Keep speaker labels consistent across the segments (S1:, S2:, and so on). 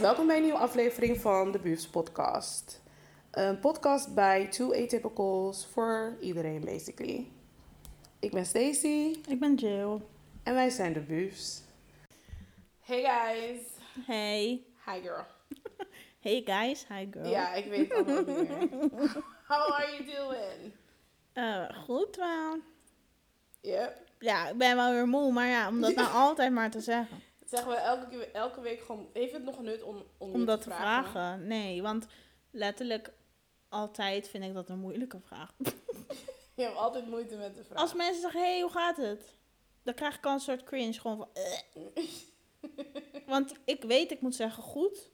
S1: welkom bij een nieuwe aflevering van de Buurts Podcast. Een podcast bij Two Atypicals voor iedereen, basically. Ik ben Stacy
S2: Ik ben Jill.
S1: en wij zijn de Buurts. Hey guys.
S2: Hey.
S1: Hi girl.
S2: Hey guys, hi girl.
S1: Ja, ik weet het allemaal niet meer. How are you doing?
S2: Eh, goed wel.
S1: Yep.
S2: Ja, ik ben wel weer moe, maar ja, om dat nou altijd maar te zeggen.
S1: Dat zeggen we elke, keer- elke week gewoon, heeft het nog nut om, om,
S2: Om
S1: dit
S2: dat te vragen. Nee, want letterlijk altijd vind ik dat een moeilijke vraag.
S1: Je hebt altijd moeite met de vraag.
S2: Als mensen zeggen, hey, hoe gaat het? Dan krijg ik al een soort cringe, gewoon van... eh. Want ik weet, ik moet zeggen goed.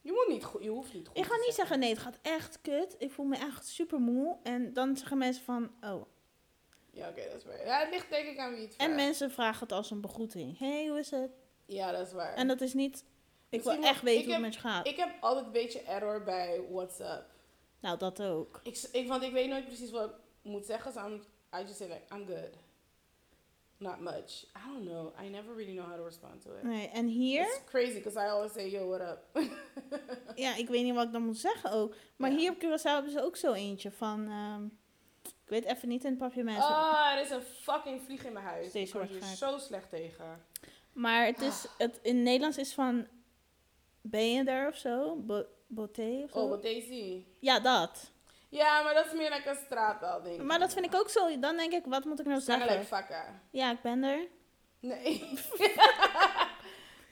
S1: Je, moet niet goed, je hoeft niet goed
S2: Ik ga
S1: te
S2: niet zeggen, nee, het gaat echt kut. Ik voel me echt super moe. En dan zeggen mensen van, oh,
S1: Ja, oké, dat is waar. Ja, het ligt denk ik aan wie het vraagt.
S2: En mensen vragen het als een begroeting. hey, hoe is het?
S1: Ja, dat is waar.
S2: En dat is niet... Ik
S1: Misschien
S2: wil
S1: wel-
S2: echt weten
S1: ik
S2: hoe het met je gaat.
S1: Ik heb altijd een beetje error bij WhatsApp.
S2: nou, dat ook.
S1: Ik, s- ik, want ik weet nooit precies wat ik moet zeggen. So I'm, I just say like, I'm good. Not much. I don't know. I never really know how to respond to it.
S2: Nee, en hier...
S1: It's crazy because I always say, yo, what up?
S2: Ja, ik weet niet wat ik dan moet zeggen ook. Maar
S1: Ja.
S2: hier op Curaçao hebben ze ook zo eentje van... ehm, ik weet even niet in het papje mensen.
S1: Ah, er is een fucking vlieg in mijn huis.
S2: Steeds
S1: ik word hier
S2: hard
S1: zo slecht tegen.
S2: Maar het is... Het, in het Nederlands is van... Ben je er of zo? Bo boté of zo?
S1: Oh, wat Daisy.
S2: ja, dat.
S1: Ja, maar dat is meer like een straattaal, denk ik.
S2: Maar dat vind ik ook zo... Dan denk ik, wat moet ik nou
S1: Snelle like
S2: zeggen?
S1: fakka.
S2: Ja, ik ben er.
S1: Nee.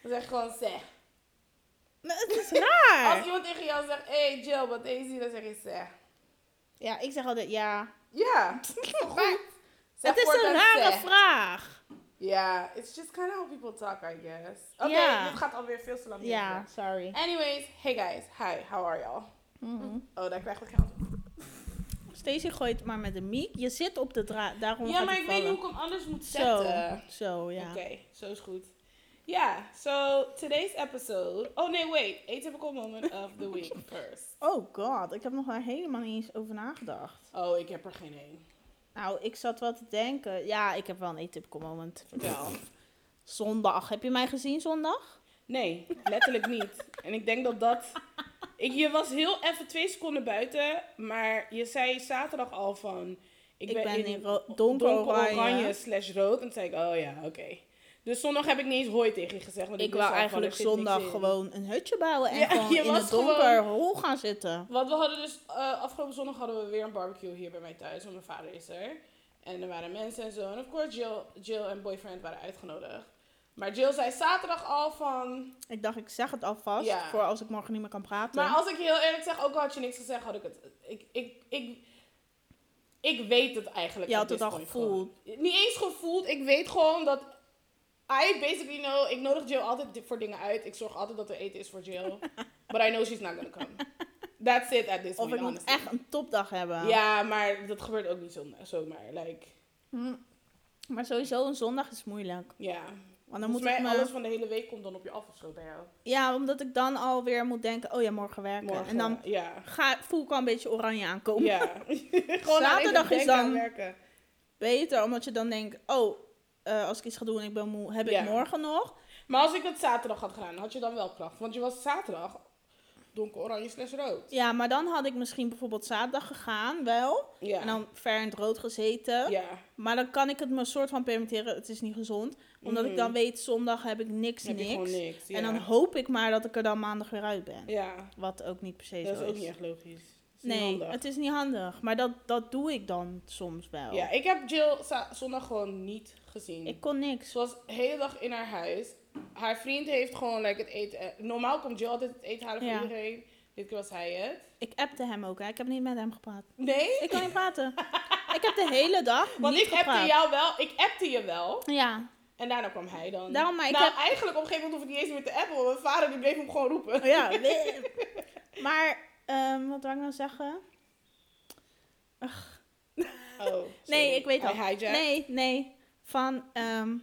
S1: dat is echt gewoon zeg.
S2: Maar het is
S1: Als
S2: raar.
S1: iemand tegen jou zegt, hey Jill, wat Daisy, dan zeg je zeg.
S2: Ja, ik zeg altijd ja.
S1: Ja. Maar zeg
S2: Het is een
S1: voortaan
S2: rare
S1: zeg.
S2: vraag.
S1: Ja, it's just kind of how people talk, I guess. Oké,
S2: Ja.
S1: dit gaat alweer veel te lang. duren.
S2: Ja, sorry.
S1: Anyways, hey guys, hi, how are y'all?
S2: Mhm.
S1: Oh, daar krijg ik geld.
S2: Stacey gooit maar met een miek. Je zit op de draad, daarom
S1: Ja,
S2: gaat
S1: maar
S2: die
S1: ik weet niet
S2: vallen.
S1: hoe ik hem anders moet
S2: Zo,
S1: zetten.
S2: zo, ja.
S1: Oké, zo is goed. Ja, so today's episode. Oh nee, wait. Atypical moment of the week first.
S2: Oh god, ik heb nog daar helemaal niet eens over nagedacht.
S1: Oh, ik heb er geen één.
S2: Nou, ik zat wel te denken. Ja, ik heb wel een atypical moment.
S1: Vertel.
S2: Zondag. Heb je mij gezien zondag?
S1: Nee, letterlijk niet. En ik denk dat dat. Ik, je was heel even twee seconden buiten, maar je zei zaterdag al van.
S2: Ik, ben in, ro- donker oranje.
S1: donker-oranje slash rood. En toen zei ik, oh ja, oké. Dus zondag heb ik niet eens hooi tegen je gezegd. Want ik
S2: Ik
S1: wist al
S2: wou
S1: van, er
S2: eigenlijk
S1: zit niks
S2: zondag
S1: in.
S2: gewoon een hutje bouwen en
S1: Ja,
S2: gewoon
S1: je
S2: in
S1: was
S2: het donker hol gaan zitten.
S1: Want we hadden dus, eh, afgelopen zondag hadden we weer een barbecue hier bij mij thuis, want mijn vader is er. En er waren mensen en zo. En of course, Jill, Jill en boyfriend waren uitgenodigd. Maar Jill zei zaterdag al van,
S2: Ik dacht, ik zeg het alvast
S1: Ja.
S2: voor als ik morgen niet meer kan praten.
S1: Maar als ik heel eerlijk zeg, ook al had je niks gezegd, had ik het. Ik, ik, ik, ik weet het eigenlijk.
S2: Je
S1: at
S2: had het
S1: this
S2: al
S1: point
S2: gevoeld.
S1: gewoon. Niet eens gevoeld. Ik weet gewoon dat. I basically know. Ik nodig Jill altijd di- voor dingen uit. Ik zorg altijd dat er eten is voor Jill. But I know she's not gonna come. That's it at this
S2: of
S1: point.
S2: ik moet
S1: honestly.
S2: echt een topdag hebben.
S1: Ja, maar dat gebeurt ook niet zomaar. zomaar. Like,
S2: Hm. Maar sowieso, een zondag is moeilijk.
S1: ja.
S2: Want dan
S1: Volgens
S2: moet
S1: mij
S2: ik me...
S1: alles van de hele week komt dan op je af of zo bij jou.
S2: Ja, omdat ik dan alweer moet denken, oh ja, morgen werken.
S1: Morgen.
S2: En dan
S1: Ja.
S2: ga, voel ik al een beetje oranje aankomen.
S1: ja. Gewoon aan even
S2: Zaterdag is
S1: denken aan
S2: dan-
S1: werken.
S2: Beter, omdat je dan denkt, oh, eh, als ik iets ga doen en ik ben moe, heb
S1: Ja.
S2: ik morgen nog.
S1: Maar als ik het zaterdag had gedaan, had je dan wel klacht. Want je was zaterdag donker oranje slash rood.
S2: Ja, maar dan had ik misschien bijvoorbeeld zaterdag gegaan, wel.
S1: Ja.
S2: En dan ver in het rood gezeten.
S1: ja.
S2: Maar dan kan ik het me soort van permitteren, het is niet gezond. Omdat
S1: Mhm.
S2: ik dan weet, zondag heb ik niks,
S1: Dan heb je
S2: niks.
S1: gewoon niks. Ja.
S2: En dan hoop ik maar dat ik er dan maandag weer uit ben.
S1: ja.
S2: Wat ook niet per se
S1: Dat is
S2: zo
S1: ook niet echt logisch. Dat is niet
S2: Nee,
S1: handig.
S2: het is niet handig. Maar dat, dat doe ik dan soms wel.
S1: Ja, ik heb Jill za- zondag gewoon niet gezien.
S2: Ik kon niks.
S1: Ze was de hele dag in haar huis. Haar vriend heeft gewoon like, het eten... eh, Normaal komt Jill altijd het eten halen voor
S2: Ja.
S1: iedereen. Dit keer was hij het.
S2: Ik appte hem ook. Hè. Ik heb niet met hem gepraat.
S1: Nee?
S2: Ik kan niet praten. ik heb de hele dag
S1: Want
S2: niet
S1: ik
S2: gepraat.
S1: appte jou wel. Ik appte je wel.
S2: Ja.
S1: En daarna kwam hij dan.
S2: Daarom, maar ik
S1: nou,
S2: heb-
S1: eigenlijk op een gegeven moment hoef ik niet eens meer te appen. Want mijn vader die bleef hem gewoon roepen.
S2: ja. maar, ehm, wat wou ik nou zeggen?
S1: Oh, sorry.
S2: Nee, ik weet
S1: Hij
S2: al.
S1: hijacked.
S2: Nee, nee. Van, ehm,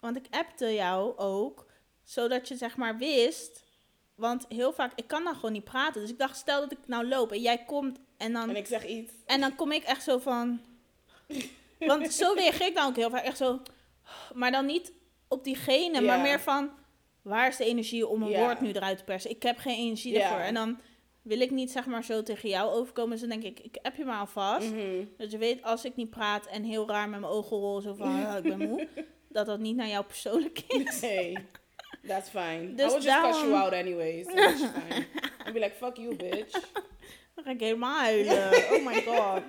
S2: want ik appte jou ook. Zodat je zeg maar wist. Want heel vaak, ik kan dan gewoon niet praten. Dus ik dacht, stel dat ik nou loop en jij komt en dan...
S1: En ik zeg iets.
S2: En dan kom ik echt zo van. Want zo reageer ik dan ook heel vaak. Echt zo. Maar dan niet op diegene,
S1: Ja.
S2: maar meer van. waar is de energie om een
S1: Ja.
S2: woord nu eruit te persen? Ik heb geen energie
S1: Ja.
S2: ervoor. En dan wil ik niet zeg maar zo tegen jou overkomen. Dus dan denk ik, ik heb je maar alvast.
S1: Mhm.
S2: Dat je weet, als ik niet praat en heel raar met mijn ogen rol, zo van, "Ah, ik ben moe. dat dat niet naar jou persoonlijk is.
S1: Hey, that's fine.
S2: Dus
S1: I would just cut
S2: daarom-
S1: you out anyways. so it's fine. I'd be like, fuck you, bitch.
S2: Dan ga ik helemaal huilen. Oh my god.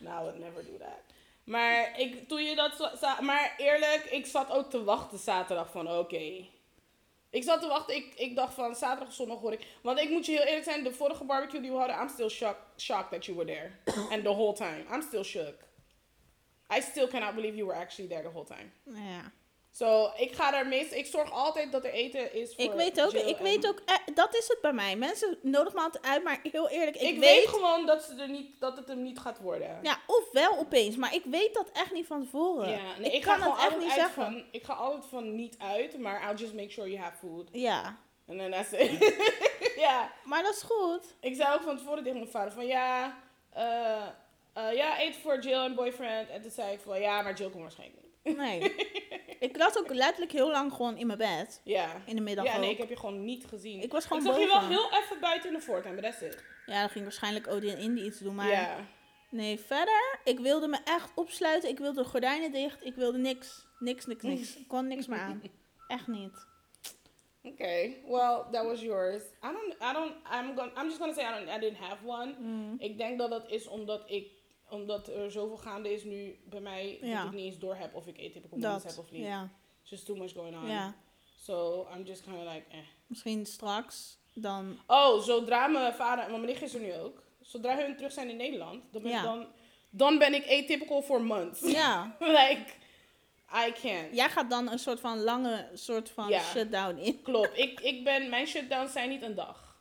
S1: No, I would never do that. Maar ik, toen je dat zo- za- maar eerlijk, ik zat ook te wachten zaterdag van, oké. Ik zat te wachten, ik, ik dacht van, zaterdag of zondag hoor ik. Want ik moet je heel eerlijk zijn, de vorige barbecue die we hadden, I'm still shock, shocked that you were there. And the whole time, I'm still shook. I still cannot believe you were actually there the whole time.
S2: Nou Ja.
S1: So, ik ga er meest, ik zorg altijd dat er eten is voor
S2: Ik weet ook,
S1: Jill
S2: ik
S1: en-
S2: weet ook, eh, dat is het bij mij. Mensen nodigen me altijd uit, maar heel eerlijk, ik,
S1: Ik, weet,
S2: weet
S1: gewoon dat, ze er niet, dat het hem niet gaat worden.
S2: Ja, of wel opeens, maar ik weet dat echt niet van tevoren.
S1: Ja, nee,
S2: ik,
S1: ik,
S2: kan
S1: ga
S2: het
S1: gewoon
S2: echt niet
S1: altijd uit
S2: zeggen.
S1: Van, ik ga altijd van niet uit, maar I'll just make sure you have food.
S2: Ja,
S1: En then that's it. ja,
S2: maar dat is goed.
S1: ik zei ook van tevoren tegen mijn vader van ja, eh, eh, ja, eet voor Jill en boyfriend. En toen zei ik van ja, maar Jill komt waarschijnlijk niet.
S2: Nee. ik lag ook letterlijk heel lang gewoon in mijn bed.
S1: Ja.
S2: In de middag
S1: Ja,
S2: ook.
S1: nee, ik
S2: ik...
S1: heb je gewoon niet gezien. Ik,
S2: was gewoon
S1: zag je wel
S2: boven.
S1: heel even buiten in de voortuin, maar that's it.
S2: Ja, dan ging waarschijnlijk Odin en Indy iets doen, maar...
S1: Ja.
S2: Nee, verder, ik wilde me echt opsluiten. Ik wilde de gordijnen dicht. Ik wilde niks. Niks, niks, niks. Ik kon niks meer aan. Echt niet.
S1: Oké, well, that was yours. I don't, I don't, I'm, gonna, I'm just gonna say I, don't, I didn't have one.
S2: Mm.
S1: Ik denk dat dat is omdat ik omdat er zoveel gaande is nu bij mij
S2: Ja.
S1: dat ik niet eens door heb of ik eethypochondries heb
S2: Dat,
S1: of niet.
S2: ja.
S1: It's just too much going on.
S2: ja.
S1: So I'm just kind of like eh.
S2: Misschien straks dan...
S1: Oh, zodra mijn vader, want mijn nicht is er nu ook. Zodra hun terug zijn in Nederland, dan ben
S2: Ja.
S1: ik dan, dan ben ik atypical for months.
S2: Ja.
S1: like I can't.
S2: Jij gaat dan een soort van lange soort van
S1: Ja.
S2: shutdown in.
S1: Klopt. Ik, ik ben mijn shutdowns zijn niet een dag.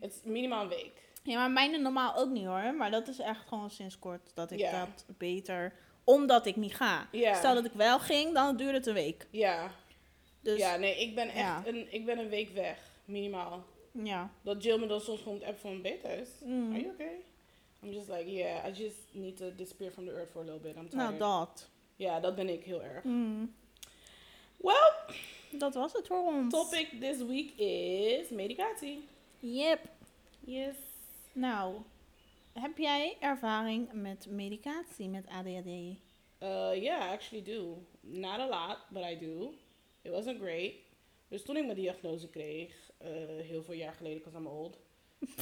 S1: Het is minimaal een week.
S2: Ja, maar mijne normaal ook niet hoor. Maar dat is echt gewoon sinds kort dat ik
S1: Ja.
S2: dat beter... Omdat ik niet ga.
S1: Ja.
S2: Stel dat ik wel ging, dan duurde het een week.
S1: Ja.
S2: Dus ja.
S1: ja, nee, ik ben echt
S2: ja.
S1: een, ik ben een week weg, minimaal.
S2: Ja.
S1: Dat Jill me dan soms gewoon app van beter is.
S2: Mm.
S1: Are you okay? I'm just like, yeah, I just need to disappear from the earth for a little bit. I'm
S2: Nou,
S1: tired.
S2: dat.
S1: Ja, dat ben ik heel erg.
S2: Mm.
S1: Well,
S2: Dat was het voor ons.
S1: topic this week is medicatie.
S2: Yep.
S1: Yes.
S2: Nou, heb jij ervaring met medicatie met ADHD?
S1: Uh, yeah, I actually do. Not a lot, but I do. It wasn't great. Dus toen ik mijn diagnose kreeg, eh, heel veel jaar geleden, because I'm old.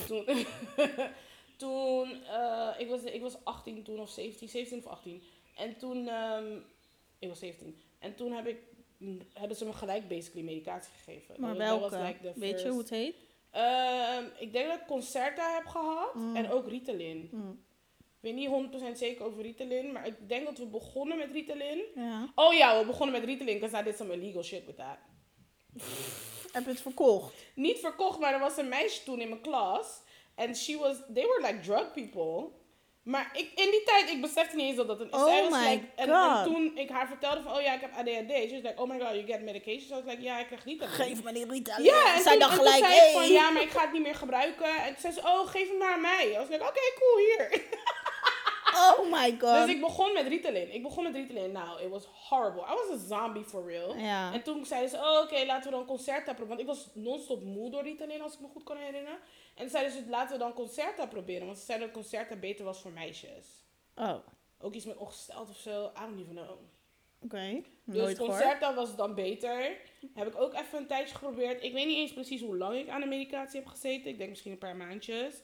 S1: toen, toen eh, ik, was, ik was 18 toen of 17, 17 of 18. En toen, ehm, ik was 17. En toen heb ik, hebben ze me gelijk basically medicatie gegeven.
S2: Maar
S1: Dat- dat
S2: welke?
S1: was like the
S2: Weet je
S1: first-
S2: hoe het heet?
S1: Ehm, ik denk dat ik Concerta heb gehad
S2: Mm.
S1: en ook Ritalin.
S2: Mm.
S1: Ik weet niet 100% zeker over Ritalin, maar ik denk dat we begonnen met Ritalin.
S2: Ja.
S1: Oh ja, we begonnen met Ritalin, because I did some illegal shit with that.
S2: Heb je het verkocht?
S1: Niet verkocht, maar er was een meisje toen in mijn klas. En she was, they were like drug people. Maar ik, in die tijd, ik besefte niet eens dat dat een...
S2: Oh
S1: zij
S2: my
S1: like, en,
S2: God.
S1: en toen ik haar vertelde van, oh ja, ik heb ADHD. She was like, oh my god, you get medication. So I was like, ja, ik krijg Ritalin.
S2: Geef me die Ritalin.
S1: Ja, en
S2: Zij
S1: toen,
S2: dacht
S1: en toen
S2: gelijk,
S1: zei ik
S2: hey.
S1: van, ja, maar ik ga het niet meer gebruiken. En toen zei ze, oh, geef hem maar aan mij. I was like, oké, cool, hier.
S2: Oh my god.
S1: Dus ik begon met Ritalin. Ik begon met Ritalin. Nou, it was horrible. I was a zombie for real.
S2: Ja.
S1: En toen zeiden ze, oh, oké, laten we dan concerta proberen. Want ik was non-stop moe door Ritalin, als ik me goed kan herinneren. En toen zeiden ze, laten we dan concerta proberen. Want ze zeiden dat concerta beter was voor meisjes.
S2: Oh, oké.
S1: Ook iets met ongesteld of zo. I don't even know. Dus
S2: Nooit gehoord.
S1: Concerta was dan beter. Heb ik ook even een tijdje geprobeerd. Ik weet niet eens precies hoe lang ik aan de medicatie heb gezeten. Ik denk misschien een paar maandjes.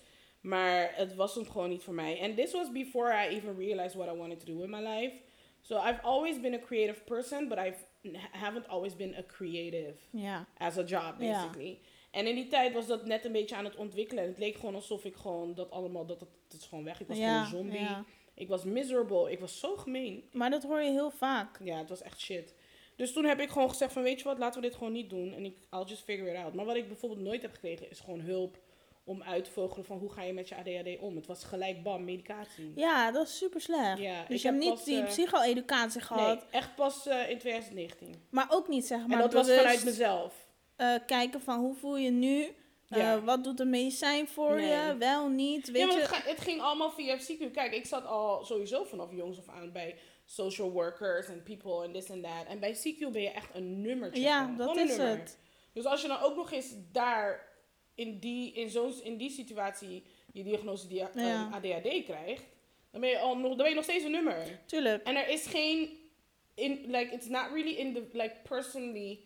S1: Maar het was hem gewoon niet voor mij. And this was before I even realized what I wanted to do in my life. So I've always been a creative person, but I haven't always been a creative
S2: Ja.
S1: as a job,
S2: Ja.
S1: basically. En in die tijd was dat net een beetje aan het ontwikkelen. En het leek gewoon alsof ik gewoon dat allemaal, dat het, het is gewoon weg. Ik was gewoon
S2: ja.
S1: een zombie.
S2: ja.
S1: Ik was miserable. Ik was zo gemeen.
S2: Maar dat hoor je heel vaak.
S1: Ja, het was echt shit. Dus toen heb ik gewoon gezegd van, weet je wat, laten we dit gewoon niet doen. En ik, I'll just figure it out. Maar wat ik bijvoorbeeld nooit heb gekregen, is gewoon hulp om uit te vogelen van hoe ga je met je ADHD om. Het was gelijk bam, medicatie.
S2: Ja, dat is super slecht.
S1: Ja,
S2: dus
S1: ik
S2: je hebt
S1: heb
S2: niet
S1: pas,
S2: die
S1: eh,
S2: psycho-educatie gehad.
S1: Nee, echt pas eh, in 2019.
S2: Maar ook niet zeg maar
S1: en dat was
S2: bewust,
S1: vanuit mezelf.
S2: eh, kijken van hoe voel je nu? Eh,
S1: Ja.
S2: wat doet de medicijn voor
S1: Nee.
S2: je? Wel, niet? Weet
S1: ja, maar
S2: je?
S1: het, ga- het ging allemaal via CQ. Kijk, ik zat al sowieso vanaf jongs af aan bij social workers en people en this en that. En bij CQ ben je echt een nummertje.
S2: Ja,
S1: gewoon.
S2: dat
S1: Gewoon een
S2: is
S1: nummer.
S2: het.
S1: Dus als je dan ook nog eens daar in die, in zo'n, in die situatie je diagnose dia- eh,
S2: Ja.
S1: ADHD krijgt, dan ben, je al nog, dan ben je nog steeds een nummer.
S2: Tuurlijk.
S1: En er is geen, in, like, it's not really in the, like, personally,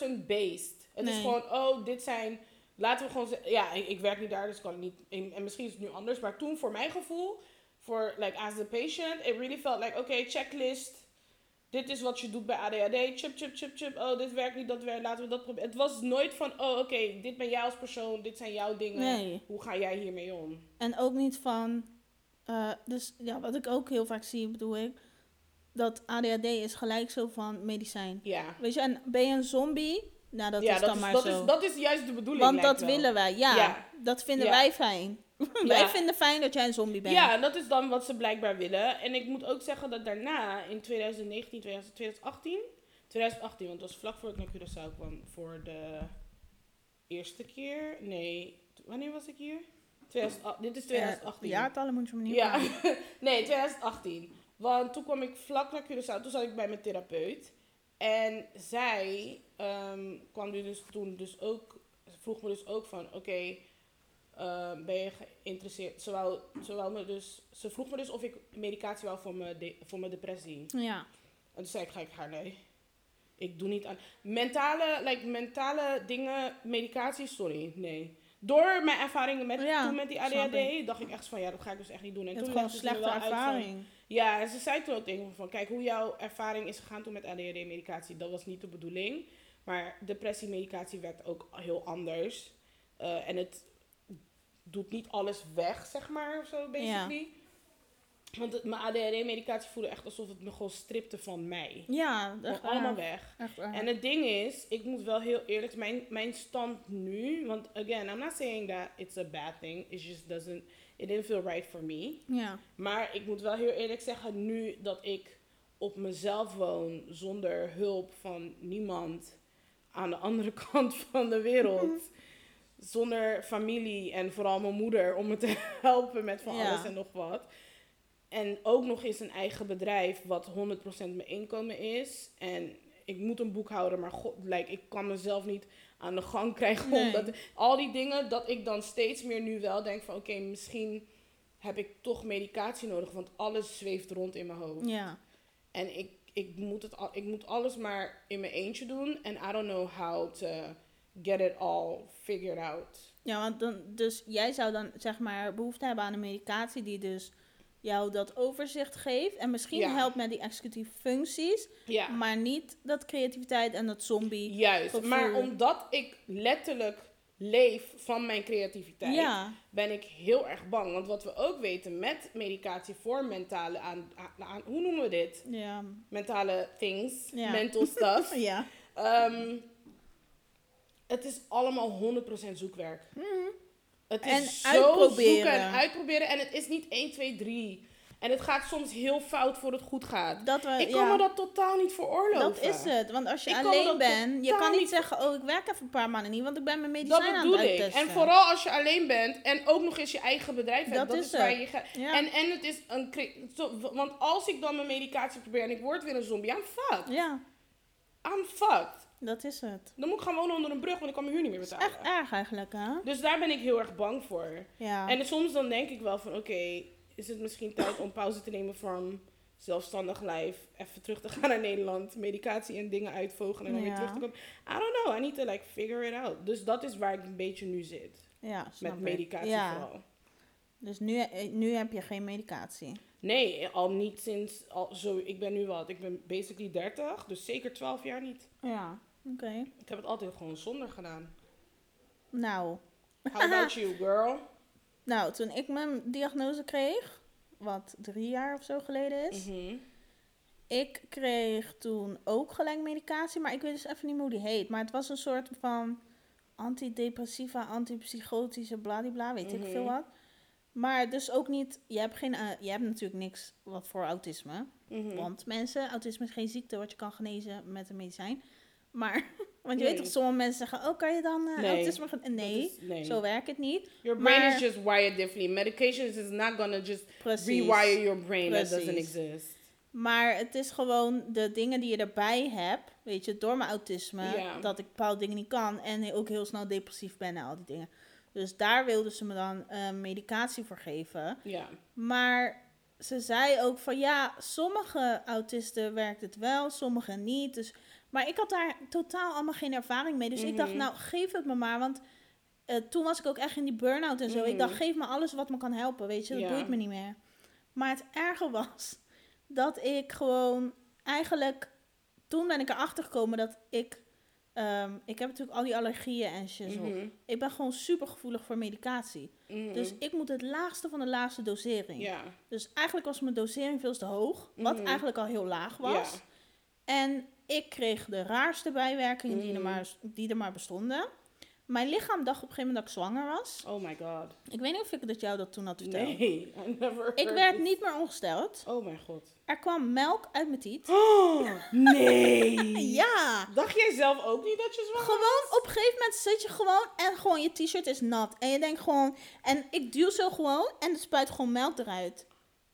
S1: person-based. Het is
S2: Nee.
S1: gewoon, oh, dit zijn, laten we gewoon, ze- ja, ik, ik werk niet daar, dus kan ik niet, en, en misschien is het nu anders, maar toen voor mijn gevoel, voor, like, as the patient, it really felt like, oké, checklist, dit is wat je doet bij ADHD, chip, chip, chip, chip, oh, dit werkt niet, dat werkt, laten we dat proberen. Het was nooit van, oh, oké, dit ben jij als persoon, dit zijn jouw dingen,
S2: Nee.
S1: hoe ga jij hiermee om?
S2: En ook niet van. eh, dus ja, wat ik ook heel vaak zie, bedoel ik. Dat ADHD is gelijk zo van medicijn.
S1: Ja.
S2: Weet je, en ben je een zombie? Nou, dat
S1: ja,
S2: is
S1: dat,
S2: dan
S1: is,
S2: maar
S1: dat,
S2: zo.
S1: is, dat is juist de bedoeling.
S2: Want
S1: lijkt
S2: dat
S1: wel.
S2: willen wij, ja.
S1: Ja.
S2: Dat vinden
S1: Ja.
S2: wij fijn.
S1: Ja.
S2: wij vinden fijn dat jij een zombie bent. Eh,
S1: Ja, en dat is dan wat ze blijkbaar willen. En ik moet ook zeggen dat daarna, in 2019, 2000, 2018... 2018, want dat was vlak voor ik naar Curaçao kwam. Voor de eerste keer. Nee, t- wanneer was ik hier? 2008, dit is 2018.
S2: Eh, Ja, jaartallen moet je me niet
S1: Ja,
S2: vragen.
S1: nee, 2018. Want toen kwam ik vlak naar Curaçao, toen zat ik bij mijn therapeut. En zij ehm, kwam nu dus toen dus ook, vroeg me dus ook van, oké, ehm, ben je geïnteresseerd? Ze, wou, ze, wou me dus, ze vroeg me dus of ik medicatie wou voor mijn, de- voor mijn depressie.
S2: Ja.
S1: En toen zei ik gelijk haar nee. Ik doe niet aan. Mentale, like, mentale dingen, medicatie, sorry, nee. Door mijn ervaringen met,
S2: Ja,
S1: toen met die
S2: snap
S1: ADHD, dacht ik echt van ja, dat ga ik dus echt niet doen. En
S2: Je hebt
S1: toen
S2: gewoon
S1: legde ze me
S2: slechte
S1: wel uit van-
S2: ervaring.
S1: ja, en ze zei toen ook tegen me van, kijk, hoe jouw ervaring is gegaan toen met ADHD-medicatie, dat was niet de bedoeling. Maar depressiemedicatie werkt ook heel anders. Eh, en het doet niet alles weg, zeg maar, of zo, basically. Want het, mijn ADHD-medicatie voelde echt alsof het me gewoon stripte van mij.
S2: Ja,
S1: Gewoon
S2: echt waar.
S1: allemaal weg.
S2: Echt waar.
S1: En het ding is, ik moet wel heel eerlijk mijn, mijn stand nu, want again, I'm not saying that it's a bad thing. It just doesn't, it didn't feel right for me.
S2: ja.
S1: Maar ik moet wel heel eerlijk zeggen, nu dat ik op mezelf woon, zonder hulp van niemand aan de andere kant van de wereld, zonder familie en vooral mijn moeder om me te helpen met van
S2: Ja.
S1: alles en nog wat. En ook nog eens een eigen bedrijf, wat 100% mijn inkomen is. En ik moet een boekhouder, maar god, like, ik kan mezelf niet aan de gang krijgen.
S2: Nee.
S1: Omdat al die dingen, dat ik dan steeds meer nu wel denk van oké, misschien heb ik toch medicatie nodig, want alles zweeft rond in mijn hoofd.
S2: ja.
S1: En ik, ik, moet het al, ik moet alles maar in mijn eentje doen. En I don't know how to get it all figured out.
S2: Ja, want dan, dus jij zou dan zeg maar behoefte hebben aan een medicatie die dus jou dat overzicht geeft. En misschien
S1: Ja.
S2: helpt met die executieve functies,
S1: Ja.
S2: maar niet dat creativiteit en dat zombie.
S1: Juist,
S2: Gevoel.
S1: maar omdat ik letterlijk leef van mijn creativiteit,
S2: Ja,
S1: ben ik heel erg bang. Want wat we ook weten met medicatie voor mentale aan, aan hoe noemen we dit?
S2: ja,
S1: Mentale things,
S2: Ja.
S1: mental stuff.
S2: ja.
S1: Ehm, het is allemaal 100% zoekwerk. Het is
S2: Mhm. En
S1: zo
S2: uitproberen.
S1: zoeken en uitproberen. En het is niet 1, 2, 3. En het gaat soms heel fout voor het goed gaat.
S2: Dat we,
S1: ik kan
S2: ja.
S1: me dat totaal niet veroorloven.
S2: Dat is eh, het, want als je
S1: Ik kan me
S2: alleen
S1: dat
S2: bent, je
S1: totaal
S2: kan niet,
S1: niet-
S2: zeggen, oh ik werk even een paar maanden niet, want ik ben mijn
S1: Dat
S2: medicijn aan
S1: bedoel
S2: het
S1: ik.
S2: uittesten.
S1: En vooral als je alleen bent en ook nog eens je eigen bedrijf hebt.
S2: Dat
S1: Dat,
S2: is
S1: is, waar
S2: het.
S1: je gaat.
S2: Ja.
S1: En, en het is een. cre- zo- Want als ik dan mijn medicatie probeer en ik word weer een zombie, I'm fucked.
S2: Ja,
S1: I'm fucked.
S2: dat is het.
S1: Dan moet ik gaan wonen onder een brug, want ik kan mijn huur niet meer
S2: Dat is
S1: betalen.
S2: echt erg eigenlijk, hè?
S1: Dus daar ben ik heel erg bang voor.
S2: Ja.
S1: En soms dan denk ik wel van, oké, is het misschien tijd om pauze te nemen van zelfstandig lijf, even terug te gaan naar Nederland, medicatie en dingen uitvogelen en dan
S2: Ja.
S1: weer terug te komen. I don't know, I need to like figure it out. Dus dat is waar ik een beetje nu zit,
S2: ja, snap
S1: met
S2: ik.
S1: medicatie
S2: Ja.
S1: vooral.
S2: Dus nu, eh, nu heb je geen medicatie.
S1: Nee, al niet sinds, al, zo, ik ben nu wat, ik ben basically 30, dus zeker 12 jaar niet.
S2: Ja, oké.
S1: Ik heb het altijd gewoon zonder gedaan.
S2: Nou,
S1: How about you, girl?
S2: nou, toen ik mijn diagnose kreeg, wat drie jaar of zo geleden is,
S1: Mhm.
S2: ik kreeg toen ook gelijk medicatie, maar ik weet dus even niet meer hoe die heet. Maar het was een soort van antidepressiva, antipsychotische, bladibla, weet
S1: Mhm.
S2: ik veel wat. Maar dus ook niet, je hebt, geen, eh, je hebt natuurlijk niks wat voor autisme.
S1: Mhm.
S2: Want mensen, autisme is geen ziekte wat je kan genezen met een medicijn. Maar, want je weet
S1: Nee.
S2: toch, sommige mensen zeggen, oh, kan je dan eh,
S1: Nee,
S2: autisme... gen-
S1: Dat
S2: Nee,
S1: is- nee.
S2: zo werkt het niet.
S1: Your brain
S2: maar-
S1: is just wired differently. Medications is not gonna just
S2: Precies.
S1: rewire your brain. That doesn't
S2: Precies.
S1: exist.
S2: Maar het is gewoon de dingen die je erbij hebt, weet je, door mijn autisme,
S1: Ja.
S2: dat ik bepaalde dingen niet kan en ook heel snel depressief ben en al die dingen. Dus daar wilden ze me dan eh, medicatie voor geven.
S1: Ja.
S2: Maar ze zei ook van ja, sommige autisten werkt het wel, sommige niet. Dus, maar ik had daar totaal allemaal geen ervaring mee. Dus ik dacht,
S1: Mhm.
S2: nou geef het me maar. Want eh, toen was ik ook echt in die burn-out en zo.
S1: Mhm.
S2: Ik dacht, geef me alles wat me kan helpen, weet je. Dat
S1: Ja.
S2: boeit me niet meer. Maar het erge was dat ik gewoon eigenlijk... Toen ben ik erachter gekomen dat ik... ehm, ik heb natuurlijk al die allergieën en shit. op.
S1: Mhm.
S2: Ik ben gewoon super gevoelig voor medicatie.
S1: Mhm.
S2: Dus ik moet het laagste van de laagste dosering.
S1: ja.
S2: Dus eigenlijk was mijn dosering veel te hoog, wat
S1: Mhm.
S2: eigenlijk al heel laag was.
S1: Ja.
S2: En ik kreeg de raarste bijwerkingen die, er
S1: Mm.
S2: maar, die er maar bestonden. Mijn lichaam dacht op een gegeven moment dat ik zwanger was.
S1: Oh my god.
S2: Ik weet niet of ik dat jou dat toen had verteld.
S1: Nee, I never
S2: Ik
S1: heard
S2: werd
S1: this.
S2: niet meer ongesteld.
S1: Oh mijn god.
S2: Er kwam melk uit mijn tiet.
S1: Oh, nee.
S2: Ja!
S1: Dacht jij zelf ook niet dat je zwanger
S2: Gewoon op een gegeven moment zit je gewoon en gewoon je t-shirt is nat. En je denkt gewoon, en ik duw zo gewoon en er spuit gewoon melk eruit.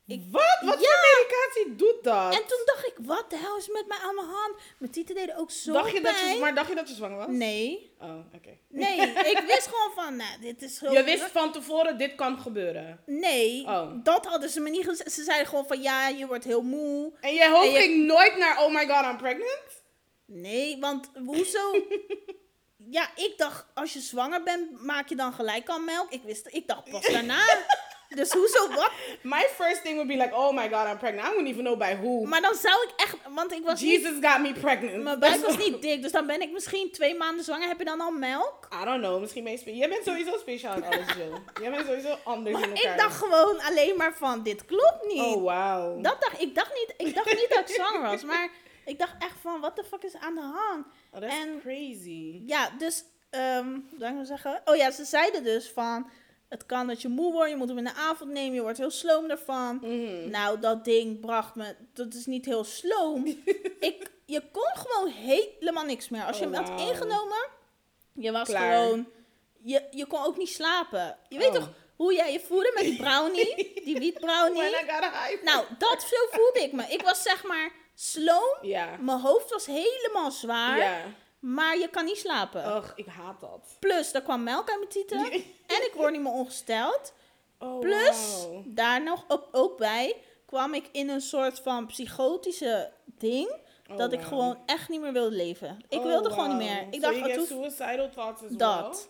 S2: Ik-
S1: Wat? Wat
S2: Ja.
S1: voor medicatie doet dat?
S2: En toen dacht ik, wat de hel is met mij aan mijn hand? Mijn tieten deden ook zo
S1: dacht je dat je,
S2: pijn.
S1: maar dacht je dat je zwanger was?
S2: Nee.
S1: Oh, oké.
S2: Nee, ik wist gewoon van, nou, dit is heel...
S1: Je wist van tevoren dit kan gebeuren.
S2: Nee,
S1: Oh.
S2: dat hadden ze me niet gezegd. Ze zeiden gewoon van, ja, je wordt heel moe.
S1: En je hoofd
S2: En je-
S1: ging nooit naar, oh my god, I'm pregnant?
S2: Nee, want hoezo... ja, ik dacht, als je zwanger bent, maak je dan gelijk al melk. Ik wist, ik dacht pas daarna. dus hoezo, wat?
S1: My first thing would be like, oh my god, I'm pregnant. I wouldn't even know by who.
S2: Maar dan zou ik echt... Want ik was niet...
S1: Jesus got me pregnant.
S2: Mijn buik was niet dik, dus dan ben ik misschien twee maanden zwanger. Heb je dan al melk?
S1: I don't know, misschien ben je spe- Jij bent sowieso speciaal in alles, Jill. Jij bent sowieso anders
S2: Maar
S1: in elkaar.
S2: ik dacht gewoon alleen maar van, dit klopt niet.
S1: Oh, wauw.
S2: Dat dacht ik. Dacht niet, ik dacht niet dat ik zwanger was. Maar ik dacht echt van, what the fuck is aan de hand?
S1: Oh, that's
S2: en-
S1: crazy.
S2: Ja, dus, ehm hoe zou ik nou zeggen? Oh ja, ze zeiden dus van, het kan dat je moe wordt. Je moet hem in de avond nemen. Je wordt heel sloom ervan.
S1: Mhm.
S2: Nou, dat ding bracht me, dat is niet heel sloom. ik, je kon gewoon helemaal niks meer. Als je
S1: Oh,
S2: hem had
S1: wauw.
S2: ingenomen, je was
S1: Klaar.
S2: gewoon, je, je kon ook niet slapen. Je weet
S1: Oh.
S2: toch hoe jij je voelde met die brownie? die wiet brownie?
S1: When I got a hype.
S2: Nou, dat zo voelde ik me. Ik was zeg maar sloom.
S1: Ja.
S2: Mijn hoofd was helemaal zwaar.
S1: Ja. Oh.
S2: Maar je kan niet slapen.
S1: Och, ik haat dat.
S2: Plus, er kwam melk uit mijn tieten. En ik word niet meer ongesteld.
S1: Oh,
S2: Plus,
S1: wauw.
S2: daar nog op, ook bij kwam ik in een soort van psychotische ding.
S1: Oh,
S2: dat ik
S1: wauw.
S2: gewoon echt niet meer wilde leven. Ik
S1: Oh,
S2: wilde gewoon niet
S1: wauw.
S2: meer. Ik
S1: So
S2: dacht,
S1: you
S2: het
S1: get
S2: hoeft
S1: suicidal thoughts as
S2: dat.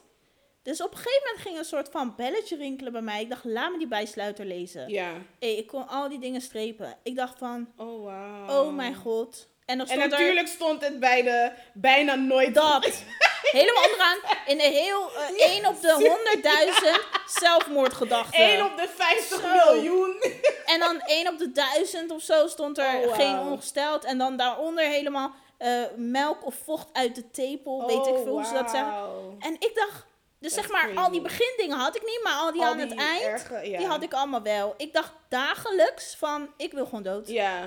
S2: Dus op een gegeven moment ging een soort van belletje rinkelen bij mij. Ik dacht, laat me die bijsluiter lezen.
S1: well? Ja.
S2: Hey, ik kon al die dingen strepen. Ik dacht van,
S1: Oh, wauw.
S2: Oh mijn god. En dan
S1: En
S2: stond er
S1: natuurlijk stond het bij de bijna nooit
S2: dat. Helemaal onderaan. In een heel eh, één op de honderdduizend zelfmoordgedachten.
S1: 1 op de 50
S2: Zo.
S1: miljoen.
S2: En dan één op de duizend of zo stond er
S1: Oh, wauw.
S2: geen ongesteld. En dan daaronder helemaal eh, melk of vocht uit de tepel. weet ik veel hoe ze dat zeggen.
S1: Oh, wauw.
S2: En ik dacht... Dus
S1: Dat
S2: zeg
S1: is
S2: maar, al die
S1: crazy.
S2: begindingen had ik niet, maar al die
S1: Al
S2: aan het
S1: die
S2: eind,
S1: erge- ja.
S2: die had ik allemaal wel. Ik dacht dagelijks van, ik wil gewoon dood.
S1: Ja,